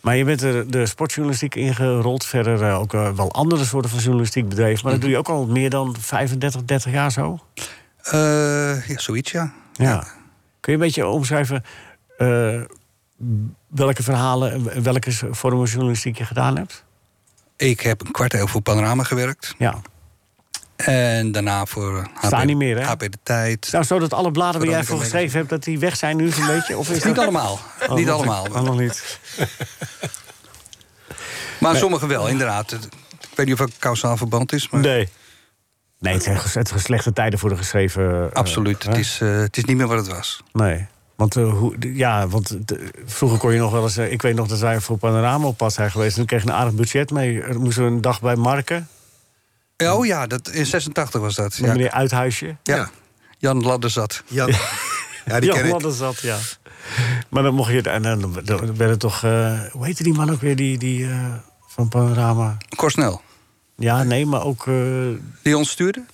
Maar je bent de, de sportjournalistiek ingerold. Verder eh, ook eh, wel andere soorten van journalistiek bedreven. Maar dat doe je ook al meer dan 35, 30 jaar zo?
Eh, ja, zoiets, ja.
Ja. Kun je een beetje omschrijven eh, welke verhalen, en welke vormen journalistiek je gedaan hebt?
Ik heb een kwart eeuw voor Panorama gewerkt.
Ja.
En daarna voor HP,
Staan niet meer, hè?
HP De Tijd.
Nou, zodat alle bladen waar jij
Veronica
voor
Magazine.
geschreven hebt, dat die weg zijn nu zo'n beetje? Of is
Niet
dat-
allemaal.
Oh,
niet
nog-
allemaal.
oh, nog niet.
Maar
Nee.
sommige wel, inderdaad. Het- Ik weet niet of het kausaal verband is. Maar
Nee. Nee, het zijn, ges- het zijn slechte tijden voor de geschreven... eh,
Absoluut.
hè?
het, is, eh, het is niet meer wat het was.
Nee. Want, eh, hoe, d- ja, want d- vroeger kon je nog wel eens... eh, ik weet nog dat wij voor Panorama op pad zijn geweest. En toen kreeg je een aardig budget mee. Er moesten we een dag bij Marken.
Ja, Oh ja, dat, in 86 was dat.
Met
Ja.
meneer Uithuisje.
Ja. Jan Ladderzat.
Jan.
Ja,
Jan Ladders zat, ja. Maar dan mocht je... En dan, dan, werd het toch... eh, hoe heette die man ook weer, die, die eh, van Panorama?
Korsnel.
Ja, nee, maar ook... eh,
Die ons stuurde?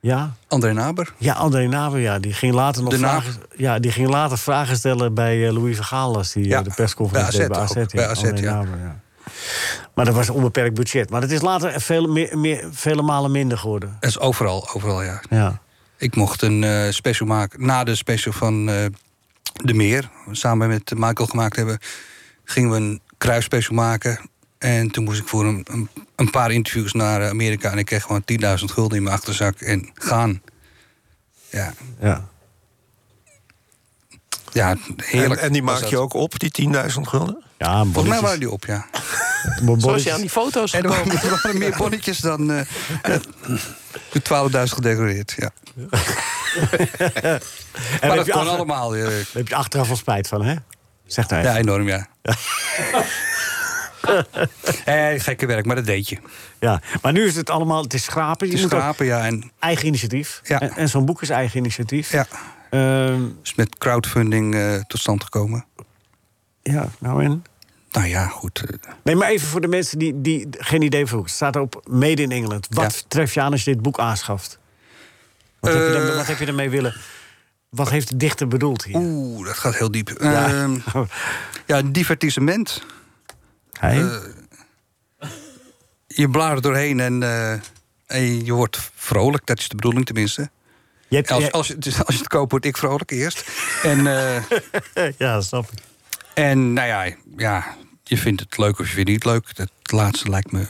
ja?
André Naber.
Ja, André Naber, ja. Die ging later nog
De Naber.
vragen... Ja, die ging later vragen stellen bij eh, Louis Vergaal... als die eh, de persconferentie
bij
deed bij
AZ
AZ.
ook, bij AZ,
André
ja.
Naber, Oh, nou, ja. Maar dat was een onbeperkt budget. Maar dat is later veel meer, meer, vele malen minder geworden.
Dat is overal, overal, ja.
Ja.
Ik mocht een eh, special maken. Na de special van eh, De Meer, samen met Michael gemaakt hebben... gingen we een kruisspecial maken. En toen moest ik voor een, een, een paar interviews naar eh, Amerika... en ik kreeg gewoon 10.000 gulden in mijn achterzak en gaan. Ja,
Ja.
ja heerlijk.
En, en die
was
maak
dat.
je ook op, die 10.000 gulden?
Ja,
Volgens mij waren die op, ja.
Zoals je aan die foto's
En er
gekomen
waren, er waren meer bonnetjes dan... eh eh, 12.000 gedecoreerd, ja.
En
maar
heb
dat
je
kon
achter-
allemaal. eh.
Daar heb je achteraf wel spijt van, hè? Zegt hij.
Ja, enorm, ja. Eh, gekke werk, maar dat deed je.
Ja, maar nu is het allemaal, het is schrapen. Je
Het is
moet ook
schrapen, ja. En
eigen initiatief. En, en zo'n boek is eigen initiatief.
Ja.
Ehm,
is met crowdfunding eh, tot stand gekomen.
ja, nou en?
Nou ja, goed. eh,
Nee, maar even voor de mensen die, die geen idee hebben. Het staat op Made in England. Wat tref je aan als je dit boek aanschaft? Wat, heb, je dan,
Eh.
wat heb je ermee willen? Wat heeft de dichter bedoeld hier?
Oeh, dat gaat heel diep.
Ja.
Ja, ja divertissement.
Hij?
Eh, je bladert doorheen en, eh, en je wordt vrolijk. Dat is de bedoeling tenminste.
Je hebt-
als,
jij-
als, je, dus als je het koopt, word ik vrolijk eerst. En, eh,
ja, snap ik.
En nou ja, ja, je vindt het leuk of je vindt het niet leuk. Dat laatste lijkt me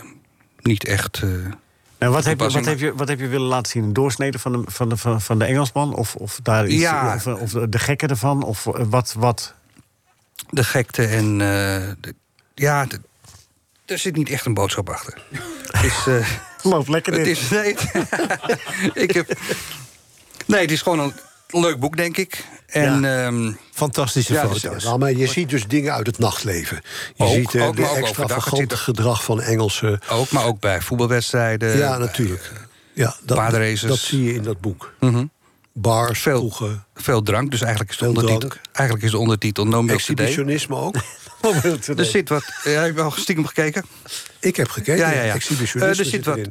niet echt... eh,
Nou, wat, heb je, wat,
toepassing.
heb je, wat heb je willen laten zien? Een doorsnede van de, van de, van van de Engelsman? Of, of, daar iets,
Ja.
of, of de gekken ervan? Of eh, wat, wat?
de gekte en... eh, de- ja, de- er zit niet echt een boodschap achter. Het is, eh,
Loopt lekker
het
dit.
is, nee, ik heb, nee, het is gewoon een leuk boek, denk ik. En, ehm,
Fantastische
Ja,
foto's.
dus-
Nou, maar je ziet dus dingen uit het nachtleven. Je
Ook,
ziet eh,
ook,
de
maar ook overdag. Het
extravagante
zit er-
gedrag van Engelse...
ook, maar ook bij voetbalwedstrijden. Eh,
ja, natuurlijk. Ja, dat,
paardenraces.
dat zie je in dat boek.
Mhm.
Bars,
Veel-
kroegen,
Veel drank, dus eigenlijk is de,
Veel
ondertitel,
drank.
eigenlijk is de ondertitel No Milk Today.
exhibitionisme ook.
Er zit wat... Ja, heb je al stiekem gekeken?
Ik heb gekeken,
Ja, ja, ja.
exhibitionisme
Eh, er zit wat
erin.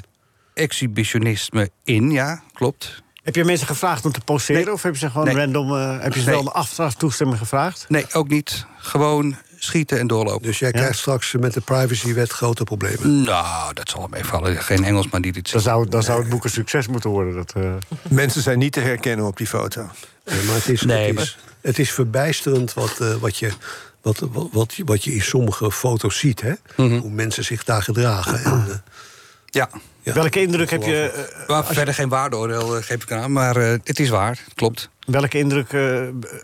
exhibitionisme in, ja, klopt.
Heb je mensen gevraagd om te poseren? Of heb je ze gewoon
Nee.
random... eh, heb je ze
Nee.
wel de achteraf toestemming gevraagd?
Nee, ook niet. Gewoon schieten en doorlopen.
Dus jij krijgt straks met de privacywet grote problemen.
Nou, dat zal hem meevallen. Geen Engelsman die dit
Dan
zegt.
zou, dan zou het boek een succes moeten worden. Dat, eh,
Mensen zijn niet te herkennen op die foto.
Nee, maar het is,
Nee,
Dus het
maar-
is, het is verbijsterend wat, eh, wat, je, wat, wat, wat, je- wat je in sommige foto's ziet. Hè?
Mhm.
Hoe mensen zich daar gedragen. En, eh,
Ja.
ja.
welke indruk heb je... eh,
Maar verder geen waardeoordeel eh, geef ik aan, maar eh, het is waar. Klopt.
welke indruk, eh,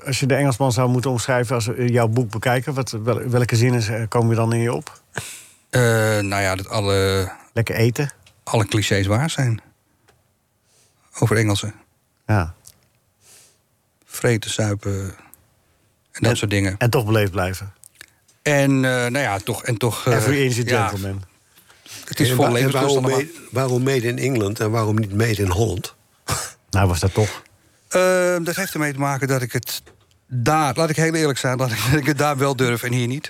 als je de Engelsman zou moeten omschrijven... als we eh, jouw boek bekijken, wat, wel- welke zinnen eh, komen dan in je op?
Eh, nou ja, dat alle,
Lekker eten?
alle clichés waar zijn. Over Engelsen.
Ja.
Vreten, suipen en dat soort dingen.
En toch beleefd blijven.
En eh, nou ja, toch... En toch eh,
Every inch a
ja,
gentleman.
Het is
En
vol
wa- en
levenskunst
waarom,
allemaal.
made, waarom made in England en waarom niet made in Holland?
Nou, was dat toch?
Ehm, dat heeft ermee te maken dat ik het daar, laat ik heel eerlijk zijn, dat ik, dat ik het daar wel durf en hier niet.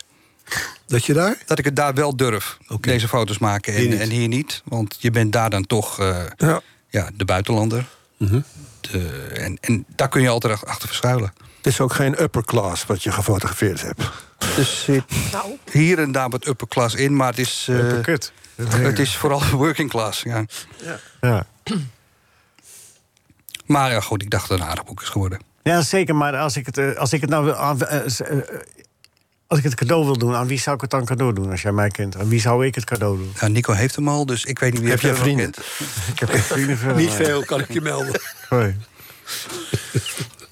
Dat je daar?
Dat ik het daar wel durf, deze foto's maken en
Hier
hier,
niet.
en hier niet. Want je bent daar dan toch eh, ja. de buitenlander. Mhm. De- en, en daar kun je altijd ach- achter verschuilen.
Het is ook geen upper class wat je gefotografeerd hebt.
Er zit hier en daar wat upper class in, maar het is... eh,
Uppercut.
het is vooral working class, ja.
Ja.
Maar ja, goed, ik dacht dat het een aardig boek is geworden.
Ja, zeker. Maar als ik het, eh, als ik het nou wil. aan- eh, s- eh, Als ik het cadeau wil doen, aan wie zou ik het dan cadeau doen als jij mij kent? Aan wie zou ik het cadeau doen?
Ja, Nou, Nico heeft hem al, dus ik weet niet wie
Heb
hij
jij
verder nog
vrienden? Ik heb geen vrienden verder.
Niet
maar-
veel, kan ik je melden.
Nee.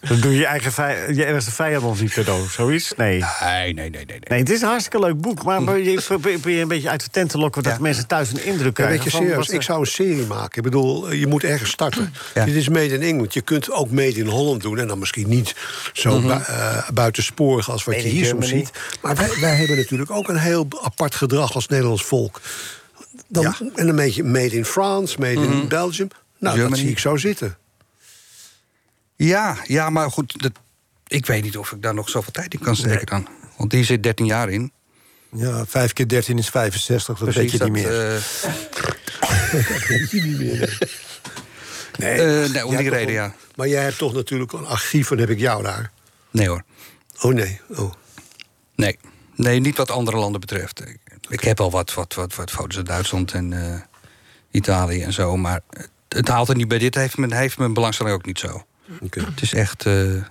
Dan doe je eigen vij- je ergste vijand ons niet cadeau, zoiets? Nee.
Nee, nee, nee, nee. Mm. nee.
het is een hartstikke leuk boek, maar probeer je probeer je een beetje uit de tent te lokken... dat mensen thuis een indruk
Ja,
krijgen.
weet je,
van
serieus,
wat ze-
ik zou een serie maken. Ik bedoel, eh, je moet ergens starten. Dit is Made in England. Je kunt ook Made in Holland doen. En dan misschien niet zo
Mhm.
bui- eh, buitensporig als wat
Made
je
in
hier soms
Germany.
ziet. Maar wij, wij hebben natuurlijk ook een heel apart gedrag als Nederlands volk. Dan, En een beetje Made in France, Made
Mhm.
in Belgium. Nou, dat
Germany.
zie ik zo zitten.
Ja, ja maar goed, dat, ik weet niet of ik daar nog zoveel tijd in kan steken dan. Want hier zit 13 jaar in.
Ja, 5 keer 13 is 65, dat
Precies,
weet je niet
dat, eh,
meer.
weet je niet meer. Nee,
Eh,
nee, om
Jij
die
hebt
reden,
toch-
ja.
Maar jij hebt toch natuurlijk een archief en heb ik jou daar.
Nee hoor.
Oh nee, oh.
Nee. nee, niet wat andere landen betreft. Ik, ik heb al wat, wat, wat, wat foto's uit Duitsland en eh, Italië en zo. Maar het, het haalt er niet bij. Dit heeft mijn, heeft mijn belangstelling ook niet zo. Het is echt... eh, ik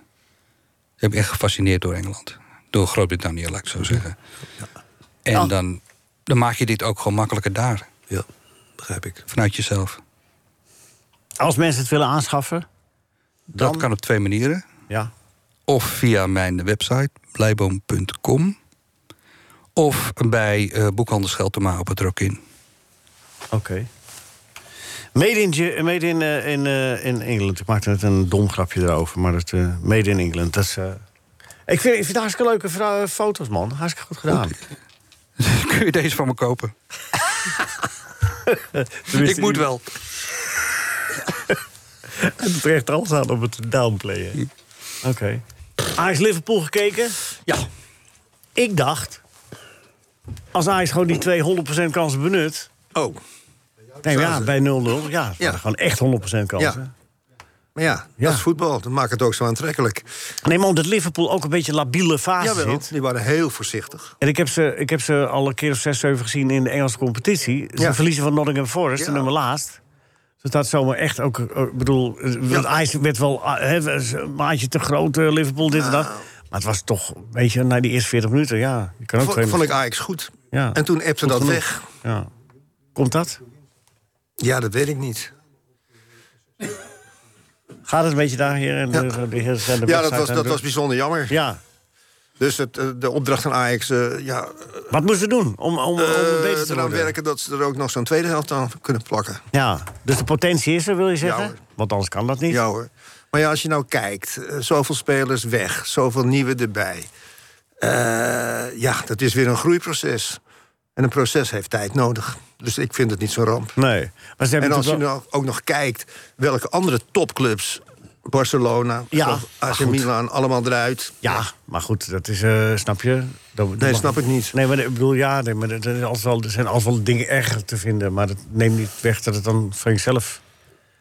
heb me echt gefascineerd door Engeland. Door Groot-Brittannië, laat ik het zo zeggen. En dan, dan maak je dit ook gewoon makkelijker daar.
Oh. Ja, begrijp ik.
Vanuit jezelf.
Als mensen het willen aanschaffen...
Dat kan op twee manieren.
Ja.
Of via mijn website, blijboom.com. Of bij eh boekhandel Scheltema op het Rokin.
Oké. Made in, Ge- made in, eh, in, eh, in England. Ik maakte net een dom grapje erover, maar dat, eh, Made in England, dat is... eh, ik, vind, ik vind het hartstikke leuke vrou- foto's, man. Hartstikke goed gedaan.
Kun je deze van me kopen? ik moet wel.
En het recht alles aan om het te downplayen. Oké. Ajax Liverpool gekeken?
Ja.
Ik dacht, als Ajax gewoon die twee 100% kansen benut...
Oh.
Nee, ja, bij 0-0. Ja, ja. gewoon echt 100% kansen.
Ja. Maar ja, dat is voetbal. Dat maakt het ook zo aantrekkelijk.
Nee, maar omdat Liverpool ook een beetje labiele fase
Jawel,
zit.
die waren heel voorzichtig.
En ik heb, ze, ik heb ze al een keer of zes, zeven gezien in de Engelse competitie. Ze
Ja.
verliezen van Nottingham Forest, de nummer laatst. Dus dat zomaar echt ook... eh, Ik bedoel, eh, want IJs werd wel ah, hè, was een maatje te groot, eh, Liverpool, dit en dat.
Nou.
Maar het was toch, weet je, na die eerste 40 minuten, ja. Je kan ook
Vond,
twee-
vond ik Ajax goed.
Ja.
En toen appte
Goed
dat
genoeg.
weg.
Ja. Komt dat?
Ja, dat weet ik niet.
Gaat het een beetje daar, hier? En de, de, heren zijn de
Ja, dat
website
was,
aan
dat
de-
was bijzonder jammer.
Ja.
Dus het, eh, de opdracht van Ajax, eh, ja...
Wat moesten ze doen om, om, om
eh,
beter te
eraan
worden?
werken dat ze er ook nog zo'n tweede helft aan kunnen plakken.
Ja, dus de potentie is er, wil je zeggen?
Ja, hoor.
Want anders kan dat niet.
Ja hoor. Maar ja, als je nou kijkt, eh, zoveel spelers weg, zoveel nieuwe erbij. Eh, ja, dat is weer een groeiproces. En een proces heeft tijd nodig. Dus ik vind het niet zo'n ramp.
Nee. Maar ze hebben
en als je
natuurlijk wel-
nou ook nog kijkt welke andere topclubs... Barcelona,
Ja,
ja,
maar
AC
goed.
Milan, allemaal eruit.
Ja, maar goed, dat is, eh, snap je? Dat, dat
Nee,
mag-
snap ik niet.
Nee, maar ik bedoel, ja, nee, maar er, er, is altijd wel, er zijn altijd wel dingen erger te vinden. Maar dat neemt niet weg dat het dan van jezelf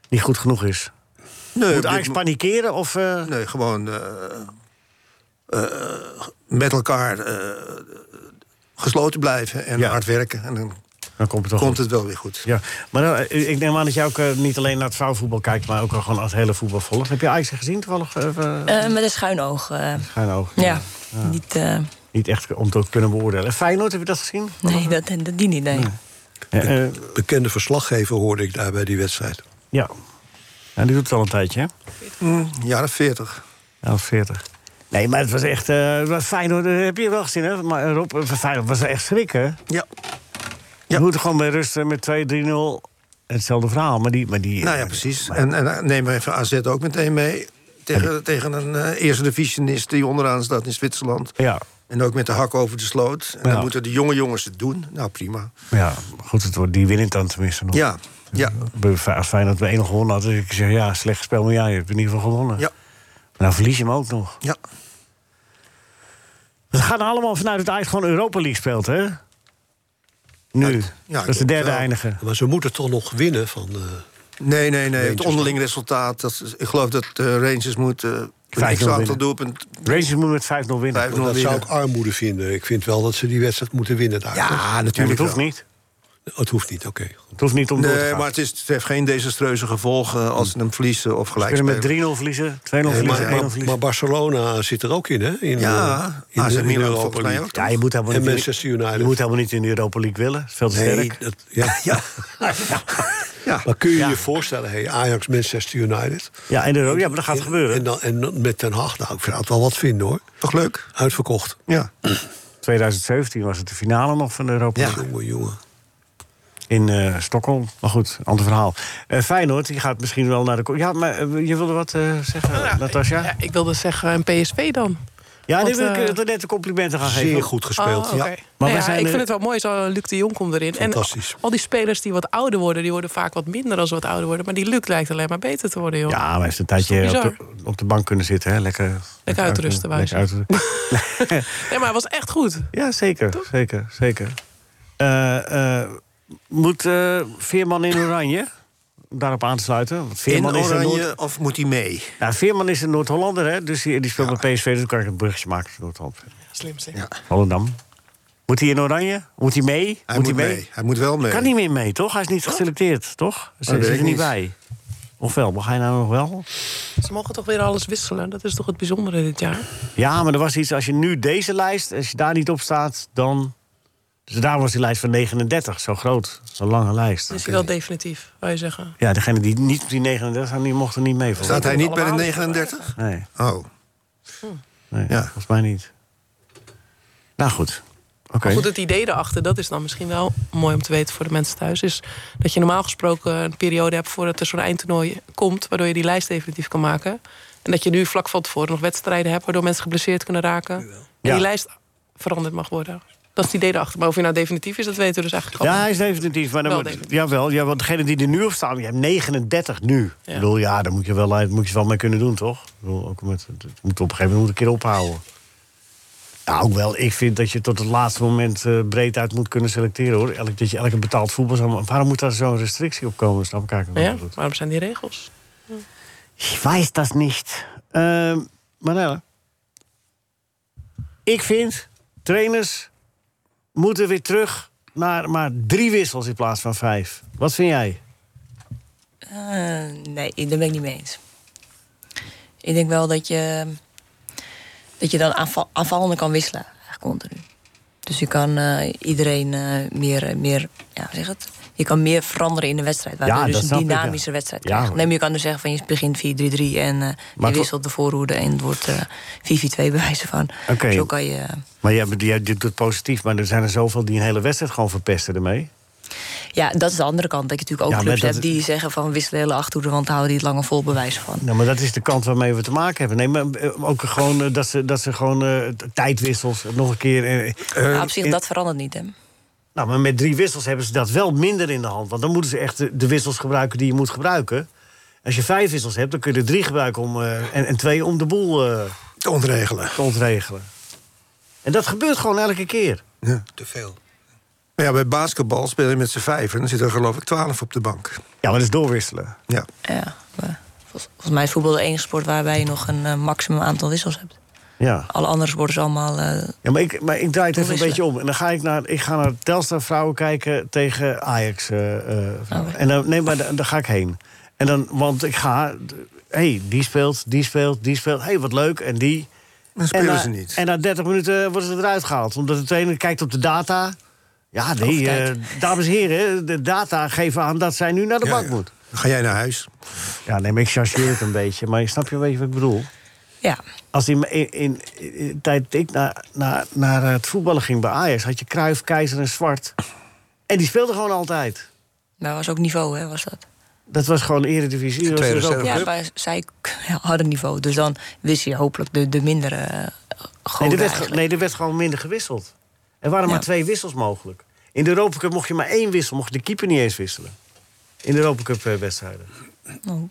niet goed genoeg is.
Nee, op
Moet
dit
Ajax
mo-
panikeren of... eh,
Nee, gewoon eh, eh, met elkaar eh, gesloten blijven en hard werken. En dan
dan komt het toch
komt
goed.
het wel weer goed.
Ja, maar dan, eh, ik neem aan dat jij ook eh, niet alleen naar het vrouwenvoetbal kijkt... maar ook al gewoon naar het hele voetbal volgt. Heb je Ajax gezien toevallig? Eh, eh,
Eh, met een schuin oog. eh.
Schuin oog.
ja. Niet, eh,
Niet echt om te kunnen beoordelen. Feyenoord, heb je dat gezien?
nee, dat, dat, die niet, nee.
Be- bekende verslaggever hoorde ik daar bij die wedstrijd.
Ja. En die doet het al een tijdje, hè?
jaren 40.
Ja, 40. Nee, maar het was echt... eh, het was Feyenoord, dat heb je wel gezien, hè? Maar eh, Rob, eh, van Feyenoord was echt schrikken.
Ja.
Je moet gewoon bij rusten met 2-3-0. Hetzelfde verhaal, maar die... Maar die
Nou ja, precies. En, en eh, neem even AZ ook meteen mee. Tegen, tegen een eh, eerste divisionist die onderaan staat in Zwitserland.
Ja.
En ook met de hak over de sloot. En dan moeten de jonge jongens het doen. Nou, prima.
Ja, goed, het wordt die winnend dan tenminste nog. Dus, eh,
Ja, ja.
Als fijn dat we één gewonnen hadden. Dus ik zeg, ja, slecht spel, maar ja, je hebt in ieder geval gewonnen.
Ja.
Maar nou verlies je hem ook nog.
Ja.
We gaan allemaal vanuit het eigen gewoon Europa League speelt, hè? Nu. dat is de derde eindige.
Maar ze moeten toch nog winnen van... eh,
Nee, nee, nee. Het
Rangers
onderling resultaat. Dat, is- ik geloof dat de Rangers moet eh, een
5-0
x-aantal
winnen.
doelpunt...
Rangers moet met 5-0 winnen.
dat
5-0 winnen.
zou ik armoede vinden. Ik vind wel dat ze die wedstrijd moeten winnen daar.
Ja, natuurlijk Ja, maar het hoeft wel.
niet.
Het hoeft niet, oké.
Het hoeft niet om door te
Nee,
gaan.
maar het, is, het heeft geen desastreuze gevolgen als ze hem verliezen of
Ze
gelijk
kunnen
spelen.
Hm. met 3-0 verliezen, 2-0
Nee,
verliezen, 1-0
maar, maar,
verliezen.
maar Barcelona zit er ook in, hè? In,
Ja,
eh,
AC
in, de- in
Milan
Europa
volgens mij
League.
ook,
Ja, je moet helemaal
En
niet,
Manchester United.
Je moet helemaal niet in de Europa League willen. Dat is veel te
Nee,
sterk.
dat- ja. ja. Maar kun je je voorstellen, hey, Ajax, Manchester United.
Ja, en de, ja maar dat gaat gebeuren.
En, dan, en dan met Ten Hag, nou, ik vind dat wel wat vinden, hoor.
Toch leuk?
Uitverkocht.
Ja.
2017 was het de finale nog van de Europa League.
Jongen, jongen.
In eh, Stockholm. Maar goed, ander verhaal. Eh Feyenoord, die gaat misschien wel naar de... ko- Ja, maar eh, je wilde wat eh, zeggen, Natasja? Ja,
Ik wilde zeggen een PSV dan.
die
Want,
wil ik
eh,
eh, net de complimenten gaan
Zeer
geven.
goed gespeeld,
Oh, oké.
ja.
Maar wij
Nou ja,
zijn eh,
ik
er-
vind het wel mooi, zo eh, Luc de Jong komt erin. En
Fantastisch.
al die spelers die wat ouder worden, die worden vaak wat minder als ze wat ouder worden. Maar die Luc lijkt alleen maar beter te worden, joh.
Ja, Ah, maar hij heeft een
Dat is
tijdje
toch
op de, op de bank kunnen zitten. Hè? Lekker,
uitrusten, wou je
lekker uitrusten.
Nee, maar hij was echt goed.
Ja, zeker, zeker, zeker. Eh, eh, moet eh, Veerman in oranje? Om daarop aan te sluiten. Want
In
Veerman is een
oranje
Noord-
of moet hij mee?
ja, Veerman is een Noord-Hollander, hè? dus die, die speelt bij PSV. Dus kan ik een bruggetje maken naar Noord-Holland.
Slim, slim.
Volendam. Moet hij in oranje? Moet hij mee?
Hij moet mee. Hij moet wel mee.
Kan niet meer mee, toch? Hij is niet geselecteerd, toch? Ze
weet
zit
ik
er niet
niet.
bij. Of wel? Mag hij nou nog wel?
Ze mogen toch weer alles wisselen? Nou, Dat is toch het bijzondere dit jaar?
Ja, maar er was iets, als je nu deze lijst, als je daar niet op staat, dan... Dus daar was die lijst van 39, zo groot, zo'n lange lijst.
Dan is hij wel definitief, wou je zeggen.
Ja, degene die niet op die 39 staan, die mocht er niet mee. volgens
Staat hij niet bij de
Allemaal Hm.
39?
mij. Nee,
Oh.
nee volgens mij niet. Nou goed, oké.
Maar goed, het idee daarachter, dat is dan misschien wel mooi om te weten voor de mensen thuis. Is dat je normaal gesproken een periode hebt voordat er zo'n eindtoernooi komt. Waardoor je die lijst definitief kan maken. En dat je nu vlak van tevoren nog wedstrijden hebt. Waardoor mensen geblesseerd kunnen raken. En
Ja.
die lijst veranderd mag worden. Dat is het idee daarachter. Maar of je nou definitief is, dat weten we dus eigenlijk al.
Ja, hij is definitief. Maar dan
Wel
moet-
definitief.
jawel, ja, want degene die er nu op staan, je hebt 39 nu. Ik bedoel, ja, daar moet je wel, daar moet je wel mee kunnen doen, toch? Ik bedoel, ook met, het moet op een gegeven moment een keer ophouden. Nou, ook wel. Ik vind dat je tot het laatste moment eh, breed uit moet kunnen selecteren, hoor. Elk, dat je elke betaald voetbal... zou- Waarom moet daar zo'n restrictie op komen? Snap ik eigenlijk niet
Ja,
goed.
waarom zijn die regels?
Ik weet dat niet. Ehm Manella. Ik vind trainers moeten weer terug naar maar drie wissels in plaats van vijf. Wat vind jij?
Eh, nee, ik- daar ben ik niet mee eens. Ik denk wel dat je, dat je dan aanval, aanvallende kan wisselen. Eigenlijk continu. Dus je kan eh, iedereen eh, meer, eh, meer ja, hoe zeg het? Je kan meer veranderen in de wedstrijd. Waardoor
Ja,
je
dat
dus
snap
een
ik, ja.
dynamische wedstrijd
Ja,
krijgt.
hoor.
Nee, maar je kan dus zeggen van je begint 4-3-3 en eh,
Maar
je
het-
wisselt de voorhoede en het wordt eh 4-4-2 bij wijze van.
Oké.
Zo kan je. eh,
Maar jij, jij, jij doet het positief, maar er zijn er zoveel die een hele wedstrijd gewoon verpesten ermee.
Ja, dat is de andere kant. Dat je natuurlijk
Ja,
ook
maar
clubs
dat-
hebt die zeggen van wisselen de hele achterhoede, want daar houden die het langer vol bewijs van.
Nou, maar dat is de kant waarmee we te maken hebben. Nee, maar eh, ook gewoon eh, dat ze, dat ze gewoon eh, t- tijdwissels eh, nog een keer. eh,
Maar
eh,
op zich,
in-
dat verandert niet, hè?
Nou, maar met drie wissels hebben ze dat wel minder in de hand. Want dan moeten ze echt de, de wissels gebruiken die je moet gebruiken. Als je vijf wissels hebt, dan kun je er drie gebruiken om, eh, en, en twee om de boel eh,
Te ontregelen.
te ontregelen. En dat gebeurt gewoon elke keer.
Te veel. Maar ja, bij basketbal speel je met z'n vijf en dan zitten er geloof ik twaalf op de bank.
Ja, maar dat is doorwisselen.
Ja.
Ja, maar vol- volgens mij is voetbal de enige sport waarbij je nog een eh, maximum aantal wissels hebt.
Ja.
Alle andere sporten zijn allemaal. eh,
Ja, maar ik, maar ik draai het even een
Wisselen.
beetje om. En dan ga ik naar, ik ga naar Telstar vrouwen kijken tegen Ajax. eh, eh, vrouwen. En dan, nee, maar dan, dan ga ik heen. En dan, want ik ga, d- hey, die speelt, die speelt, die speelt. hey, wat leuk. En die.
Dan spelen
en na,
ze niet.
En na 30 minuten worden ze eruit gehaald. Omdat de trainer kijkt op de data. Ja, nee,
Oh, kijk.
eh, dames en heren, de data geven aan dat zij nu naar de
Ja,
bank
ja.
moet.
Dan ga jij naar huis.
Ja, nee, maar ik chargeer het een beetje. Maar snap je een beetje wat ik bedoel?
ja,
Als in, in, in, in- tijd dat ik naar, naar, naar het voetballen ging bij Ajax... had je Kruif, Keizer en Zwart. En die speelden gewoon altijd.
maar was ook niveau, hè, was dat?
Dat was gewoon eredivisie. Dat was dus ook-
ja, maar zij k- ja, hadden niveau. Dus dan wist je hopelijk de, de mindere eh,
Nee,
goden
er werd, ge-
eigenlijk.
nee, er werd gewoon minder gewisseld. Er waren maar twee wissels mogelijk. In de Europa Cup mocht je maar één wissel, mocht je de keeper niet eens wisselen. In de Europa Cup eh, wedstrijden.
Oh.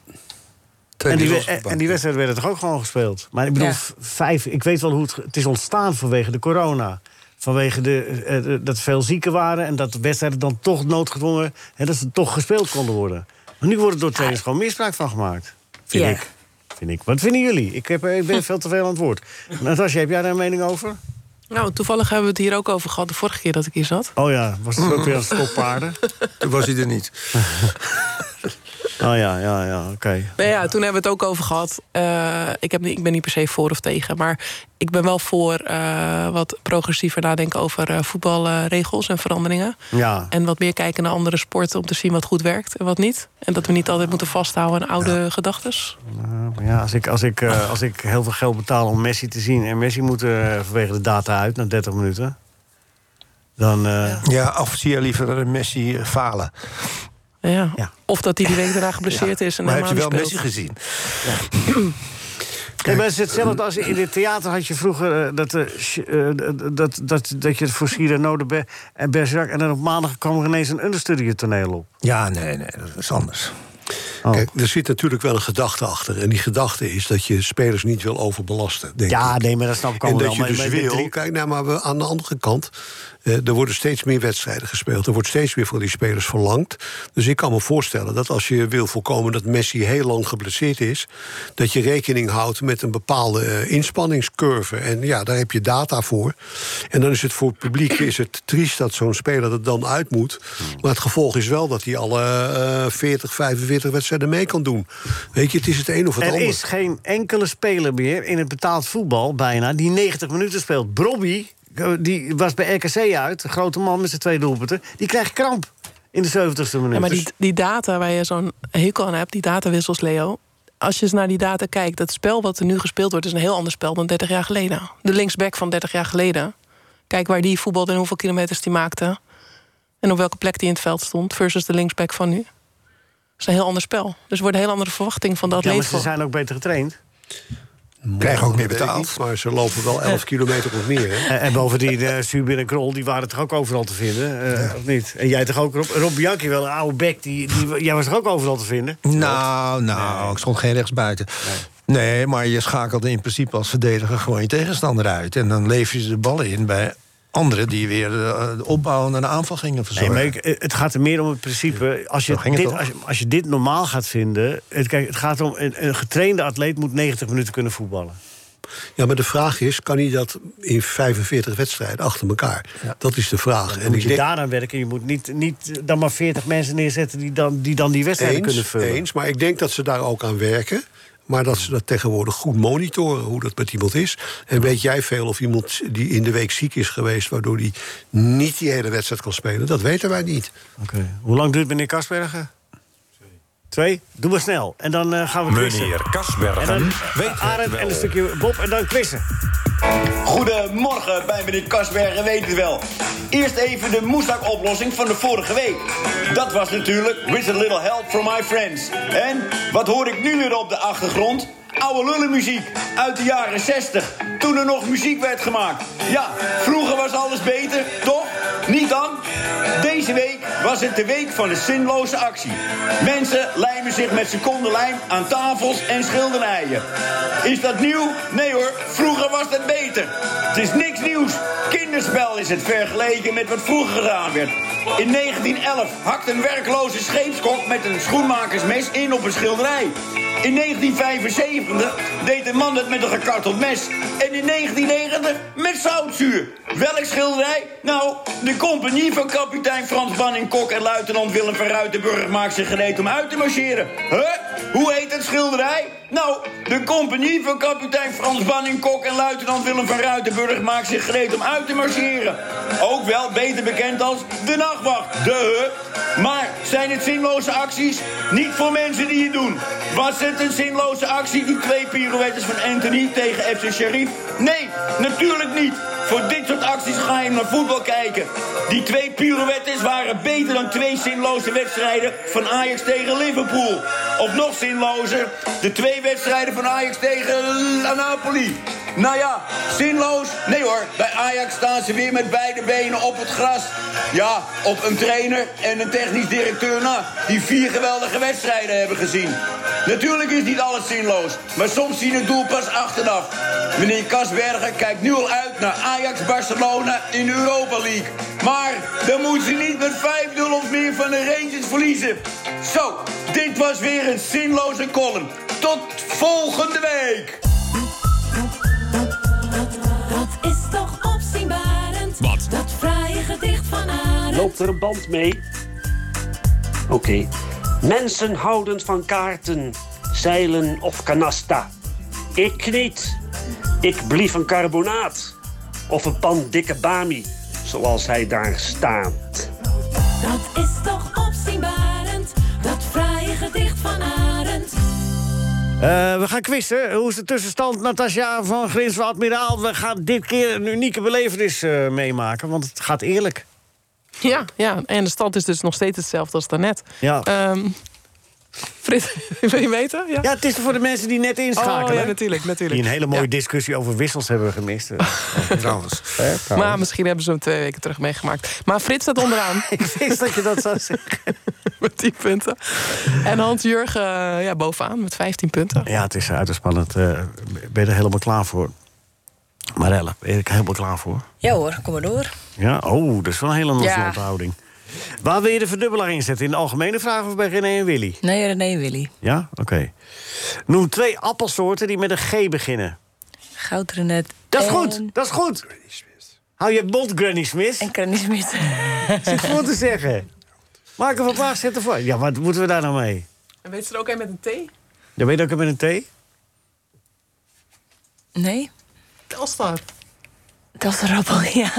Twee
en, die,
wissels
we-
op de
en die wedstrijden werden toch ook gewoon gespeeld. Maar ik bedoel,
Ja.
v- vijf, ik weet wel hoe het, ge- het is ontstaan vanwege de corona. Vanwege de, eh, eh, dat veel zieken waren en dat de wedstrijden dan toch noodgedwongen. Hè, dat ze toch gespeeld konden worden. Maar nu wordt er door trainers gewoon misbruik van gemaakt. Vind
Ja.
ik. Vind ik. Wat vinden jullie? Ik, heb, eh, ik ben veel te veel aan het woord. Natasja, heb jij daar een mening over?
Nou, toevallig hebben we het hier ook over gehad de vorige keer dat ik hier zat.
Oh ja, was het ook weer als stokpaarden?
Toen was hij er niet.
Oh ja, ja, ja, oké.
Nou ja, toen hebben we het ook over gehad. Eh, ik, heb, niet- ik ben niet per se voor of tegen. Maar ik ben wel voor eh, wat progressiever nadenken over eh, voetbalregels en veranderingen.
Ja.
En wat meer kijken naar andere sporten om te zien wat goed werkt en wat niet. En dat we niet altijd moeten vasthouden aan oude gedachten.
Nou, Ja, als ik, als, ik, eh, als ik heel veel geld betaal om Messi te zien... en Messi moet eh, vanwege de data uit na 30 minuten... dan... eh,
Ja, of zie je liever Messi eh, falen?
Ja. Of dat hij die week daarna geblesseerd
Ja,
is. En
maar heb
helemaal
je wel
niet
Messi
speelt.
gezien?
Nee, maar het is hetzelfde als in het theater had je vroeger... eh, dat, eh, sh- eh, dat, dat, dat, dat je voor Cyrano de Be- en Bergerac... en dan op maandag kwam er ineens een understudio-toneel op.
Ja, nee, nee, dat is anders.
Kijk, er zit natuurlijk wel een gedachte achter. En die gedachte is dat je spelers niet wil overbelasten. Denk
Ja,
ik.
nee, maar dat snap ik allemaal
En dat
wel,
je
maar-
dus
maar de
wil...
drie-
Kijk, nou, maar we, aan de andere kant... eh, er worden steeds meer wedstrijden gespeeld. Er wordt steeds meer van die spelers verlangd. Dus ik kan me voorstellen dat als je wil voorkomen... dat Messi heel lang geblesseerd is... dat je rekening houdt met een bepaalde eh, inspanningscurve. En ja, daar heb je data voor. En dan is het voor het publiek is het triest dat zo'n speler er dan uit moet. Maar het gevolg is wel dat hij alle eh, 40, 45 wedstrijden mee kan doen. Weet je, het is het een of het
Er
ander.
is geen enkele speler meer in het betaald voetbal bijna... die 90 minuten speelt. Brobby, eh, die was bij RKC uit, een grote man met zijn twee doelpunten... die krijgt kramp in de 70ste minuut.
Ja, maar die,
Dus-
die data waar je zo'n hekel aan hebt, die datawissels, Leo. Als je eens naar die data kijkt, dat spel wat er nu gespeeld wordt, is een heel ander spel dan 30 jaar geleden. De linksback van 30 jaar geleden. Kijk waar die voetbalde en hoeveel kilometers die maakte. En op welke plek die in het veld stond, versus de linksback van nu. Dat is een heel ander spel. Dus er wordt een heel andere verwachting van de
ja,
atleet.
maar ze zijn ook beter getraind.
Krijgen ook meer
Dat weet ik
betaald.
niet, maar ze lopen wel 11 kilometer of meer. Hè?
En, en bovendien, eh Subin en Krol, die waren toch ook overal te vinden? eh, Of niet? En jij toch ook, Rob? Rob Bianchi, wel een oude bek, die, die, jij was toch ook overal te vinden?
Nou, nou, ik stond geen rechtsbuiten. Nee. maar je schakelde in principe als verdediger gewoon je tegenstander uit. En dan leef je de ballen in bij anderen die weer eh, de opbouw en de aanval gingen
Nee,
verzorgen.
maar ik- eh, het gaat er meer om het principe. Als je,
Zo ging het
dit,
toch?
als je, als je dit normaal gaat vinden... Het, kijk, het gaat om, een, een getrainde atleet moet 90 minuten kunnen voetballen.
Ja, maar de vraag is, kan hij dat in 45 wedstrijden achter elkaar? Dat is de vraag.
Dan moet je daaraan werken. Je moet niet, niet eh, dan maar 40 mensen neerzetten die dan die, dan die wedstrijden
eens,
kunnen vullen.
Eens, maar ik denk dat ze daar ook aan werken. Maar dat ze dat tegenwoordig goed monitoren, hoe dat met iemand is. En weet jij veel of iemand die in de week ziek is geweest... waardoor die niet die hele wedstrijd kan spelen? Dat weten wij niet.
Oké. Hoe lang duurt meneer Kasbergen? Twee? Doe maar snel. En dan eh, gaan we quizzen.
Meneer Kasbergen
En dan
weet het
eh, Arend
wel.
en een stukje Bob en dan quizzen.
Goedemorgen bij meneer Kasbergen, weet het wel. Eerst even de moesdak-oplossing van de vorige week. Dat was natuurlijk With a Little Help from My Friends. En wat hoor ik nu weer op de achtergrond? Oude lullenmuziek uit de jaren 60, toen er nog muziek werd gemaakt. Ja, vroeger was alles beter, toch? Niet dan? Deze week was het de week van de zinloze actie. Mensen lijmen zich met secondenlijm aan tafels en schilderijen. Is dat nieuw? Nee hoor, vroeger was dat beter. Het is niks nieuws. Kinderspel is het vergeleken met wat vroeger gedaan werd. In 1911 hakt een werkloze scheepskok met een schoenmakersmes in op een schilderij. In 1975 deed een man dat met een gekarteld mes. En in 1990 met zoutzuur. Welk schilderij? Nou, de compagnie van kapitein Frans Banning Kok en luitenant Willem van Ruitenburg maakt zich gereed om uit te marcheren. Huh? Hoe heet het schilderij? Nou, de compagnie van kapitein Frans Banning Kok en luitenant Willem van Ruitenburg maakt zich gereed om uit te marcheren. Ook wel beter bekend als de nachtwacht. De huh? Maar zijn het zinloze acties? Niet voor mensen die het doen. Was het een zinloze actie, die twee pirouettes van Anthony tegen FC Sheriff? Nee, natuurlijk niet. Voor dit soort acties ga je naar voetbal kijken. Die twee pirouettes waren beter dan twee zinloze wedstrijden van Ajax tegen Liverpool. Of nog zinlozer, de twee wedstrijden van Ajax tegen eh, Napoli. Nou ja, zinloos? Nee hoor, bij Ajax staan ze weer met beide benen op het gras. Ja, op een trainer en een technisch directeur na... die vier geweldige wedstrijden hebben gezien. Natuurlijk is niet alles zinloos, maar soms zien het doel pas achteraf. Meneer Kasberger kijkt nu al uit naar Ajax-Barcelona in de Europa League. Maar dan moet ze niet met 5-0 of meer van de Rangers verliezen. Zo, dit was weer een zinloze column. Tot volgende week!
Dat is toch opzienbarend?
Wat?
Dat fraaie gedicht van Arend.
Loopt er een band mee? Oké. Mensen houden van kaarten, zeilen of canasta. Ik niet. Ik blief een carbonaat. Of een pan dikke bami, zoals hij daar staat.
Dat is toch opzienbarend? Dat fraaie gedicht van Arend.
Eh, we gaan quizzen. Hoe is de tussenstand, Natasja van Grins van Admiraal? We gaan dit keer een unieke belevenis eh, meemaken, want het gaat eerlijk.
Ja, ja, en de stand is dus nog steeds hetzelfde als daarnet.
Ja.
Ehm, Frit, wil je weten? Ja.
het is voor de mensen die net inschakelen.
Oh, ja, natuurlijk, natuurlijk.
Die een hele mooie discussie over wissels hebben gemist. eh.
Trouwens. Maar misschien hebben ze hem twee weken terug meegemaakt. Maar Frits staat onderaan.
Ik wist dat je dat zou zeggen.
met 10 punten. En Hans-Jurgen eh, ja, bovenaan met 15 punten.
Ja, het is uiterspannend. eh ben je er helemaal klaar voor? Marelle, ben je er helemaal klaar voor?
Ja hoor, kom maar door.
Ja, oh, dat is wel een hele andere
Ja.
soort houding. Waar wil je de verdubbelaar in zetten? In de algemene vraag of bij René en Willy?
Nee, René Willy.
Ja, oké. Noem twee appelsoorten die met een G beginnen.
Goudrenet.
Dat is goed, dat is goed. Hou je mond, Granny Smith. En
Granny Smith.
Zit voor te zeggen. Maak er van plaats, zet ervoor. Ja, wat moeten we daar nou mee?
En weet ze er ook een met een T?
Dan weet je ook met een T?
Nee?
Telstar.
Telstar Rappel, ja.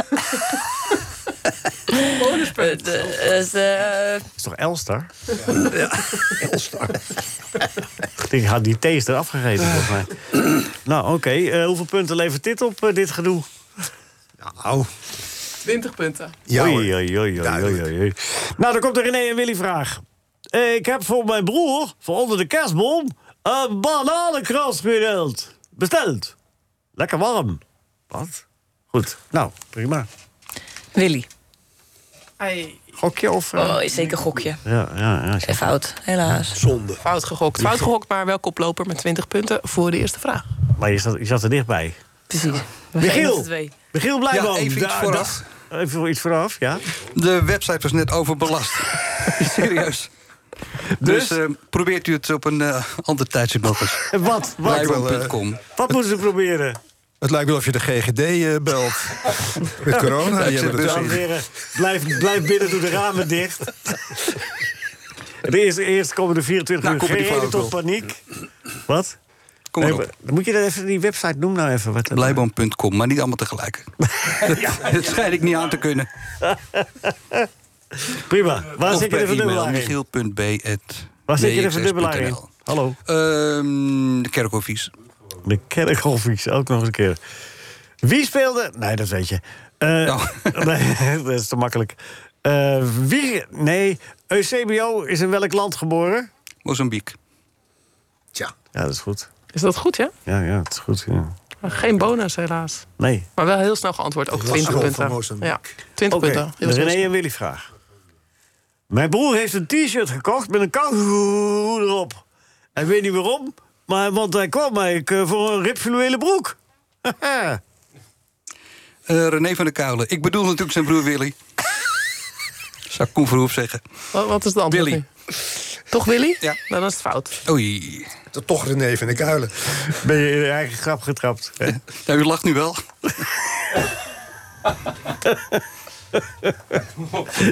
Bonuspunt. Dus, eh,
Dat is toch Elstar? Elstar. Ik had die T is eraf gegeten, volgens mij. Nou, oké. eh, hoeveel punten levert dit op, eh, dit gedoe? Nou...
20 punten.
Ja, oei, oei, oei, oei, oei, oei. Nou, dan komt er René en Willy vraag. Eh, Ik heb voor mijn broer, voor onder de kerstboom, een bananenkras besteld. Besteld. Lekker warm. Wat? Goed. Nou, prima.
Willy.
Ai.
Gokje of... eh?
Oh, is zeker gokje.
Ja, ja, ja.
Eh, Fout, helaas.
Zonde.
Fout gegokt. Fout gegokt, maar wel koploper met 20 punten voor de eerste vraag.
Maar je zat, je zat er dichtbij.
Precies.
Michiel,
twee.
Michiel Blijboom.
Ja, even iets
Da-
vooraf.
da- even iets vooraf, ja.
De website was net overbelast. Serieus. Dus, eh, probeert u het op een eh, ander tijdstip nog eens.
Wat? Wat?
Blijkbaar.com.
Wat moeten ze proberen?
Het lijkt wel of je de GGD eh, belt.
Ja,
Met corona.
ik zeg, dames en heren, blijf, blijf binnen, doe de ramen dicht. De eerste, eerst komen de 24
Nou,
uur
kom je
geen
die
reden
flauw
tot paniek. Wat?
Kom
Nee,
maar op.
maar- dan moet je dat even, die website noem nou even. Wat
Blijboom.com, maar niet allemaal tegelijk. dat schijn ik niet aan te kunnen.
Prima. Waar
Of
zit je
per
de verdubbelaar
e-mail,
in?
Michiel.b.
Waar zit je de verdubbelaar in? Hallo.
Ehm, de kerkhoffies.
De kerkhoffies, ook nog eens een keer. Wie speelde... Nee, dat weet je. Eh,
Oh.
nee, dat is te makkelijk. Eh, wie... Nee, Eusebio is in welk land geboren?
Mozambique.
Ja. Ja, dat is goed.
Is dat goed, ja?
Ja, ja, dat is goed. Ja.
Geen bonus, helaas.
Nee.
Maar wel heel snel geantwoord. Ook
Lastig
20
van
punten.
Mozambique.
Ja, 20
Oké,
punten.
de René en Willy vraag. Mijn broer heeft een t-shirt gekocht met een kangoeroe erop. Hij weet niet waarom, maar, want hij kwam eigenlijk eh, voor een ripfluwelen broek.
Eh, René van der Kuilen. Ik bedoel natuurlijk zijn broer Willy. Zou ik Koen Verhoef zeggen.
Wat, wat is het antwoord
Willy.
nu? Toch Willy? Ja. Dan is het fout.
Oei.
Toch René van de Kuilen.
Ben je in je eigen grap getrapt?
Nou, u lacht nu wel.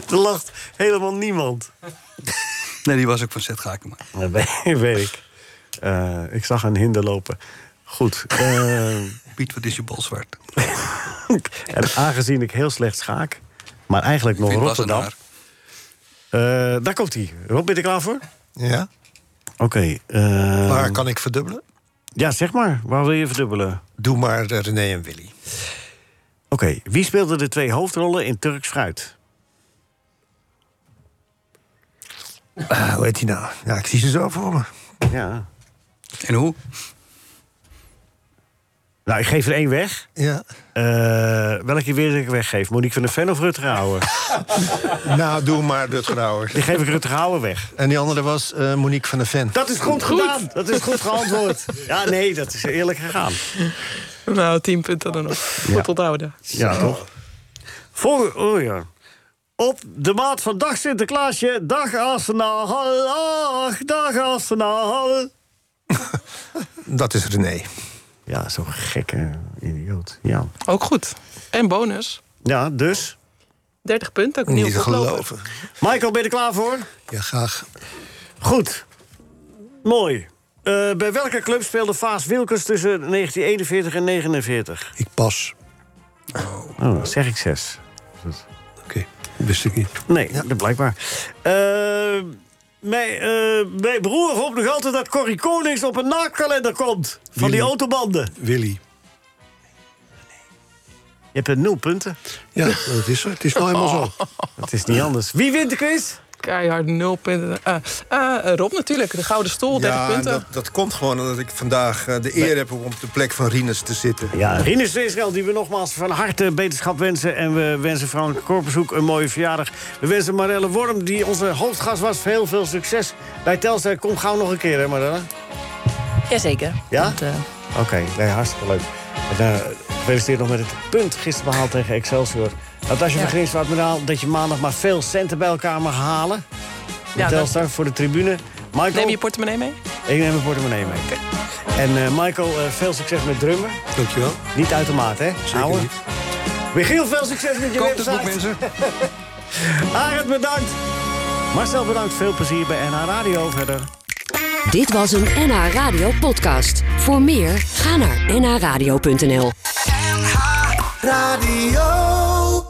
er lacht helemaal niemand.
Nee, die was ook van Zet Gakema.
Dat weet, weet ik. Eh, ik zag een hinder lopen. Goed. eh,
Piet, wat is je bol zwart?
en aangezien ik heel slecht schaak, maar eigenlijk nog
Piet was
Rotterdam.
een haar.
eh, daar komt hij. Rob, ben je er klaar voor?
Ja.
Oké. eh,
Waar kan ik verdubbelen?
Ja, zeg maar. Waar wil je verdubbelen?
Doe maar eh, René en Willy.
Oké, wie speelde de twee hoofdrollen in Turks Fruit?
Ah, hoe heet die nou? Ja, ik zie ze zo voor me.
Ja.
En hoe?
Nou, ik geef er één weg.
Ja.
Eh, welke wil ik weggeven? Monique van der Ven of Rutger Hauer?
nou, doe maar Rutger Hauer.
Die geef ik Rutger Hauer weg.
En die andere was eh, Monique van der Ven.
Dat is goed gedaan. Dat is goed geantwoord. Ja, nee, dat is eerlijk gegaan.
Nou, tien punten dan nog. Goed onthouden.
Ja, toch? Voor, oh ja. Op de maat van dag Sinterklaasje, dag Arsenal, dag, dag Arsenal.
Dat is René.
Ja, zo'n gekke idioot. Ja.
Ook goed. En bonus.
ja, dus?
30 punten, ook nieuw
Michael, ben je er klaar voor?
Ja, graag.
Goed. Mooi. Eh, bij welke club speelde Vaas Wilkens tussen 1941 en 1949?
Ik pas.
Oh, dat zeg ik zes.
Oké, dat wist ik niet.
Nee, dat blijkbaar. Eh, mijn, eh, mijn broer hoopt nog altijd dat Corrie Konings op een naakkalender komt. Van die autobanden.
Willy.
Je hebt er nul punten.
Ja, dat is zo. Het is nou helemaal zo.
Het is niet anders. Wie wint de quiz?
Keihard, nul punten. Eh, eh, Rob natuurlijk, de gouden stoel, 30
Ja, en
punten.
dat, dat komt gewoon omdat ik vandaag eh, de eer heb om op de plek van Rinus te zitten.
Ja, Rinus de Israël, die we nogmaals van harte beterschap wensen. En we wensen Frank Korpershoek een mooie verjaardag. We wensen Marelle Worm, die onze hoofdgast was, heel veel succes bij Telstar. Kom gauw nog een keer, hè Marelle?
Jazeker.
Ja?
Want, eh,
Oké, nee, hartstikke leuk. En, eh, Gefeliciteerd nog met het punt gisteren behaald tegen Excelsior. Natasja van Grinswaard, medaal dat je maandag maar veel centen bij elkaar mag halen.
Ja,
Ja, Telstar voor de tribune. Michael,
Neem je portemonnee mee?
ik neem mijn portemonnee mee. En eh, Michael, eh, veel succes met drummen.
Dankjewel.
Niet uit de maat, hè? Ouwe. Michiel, veel succes met je
Koop
website.
het boek, mensen.
Arend, bedankt. Marcel, bedankt. Veel plezier bij NH Radio verder.
Dit was een NH Radio podcast. Voor meer, ga naar nhradio.nl.
Radio.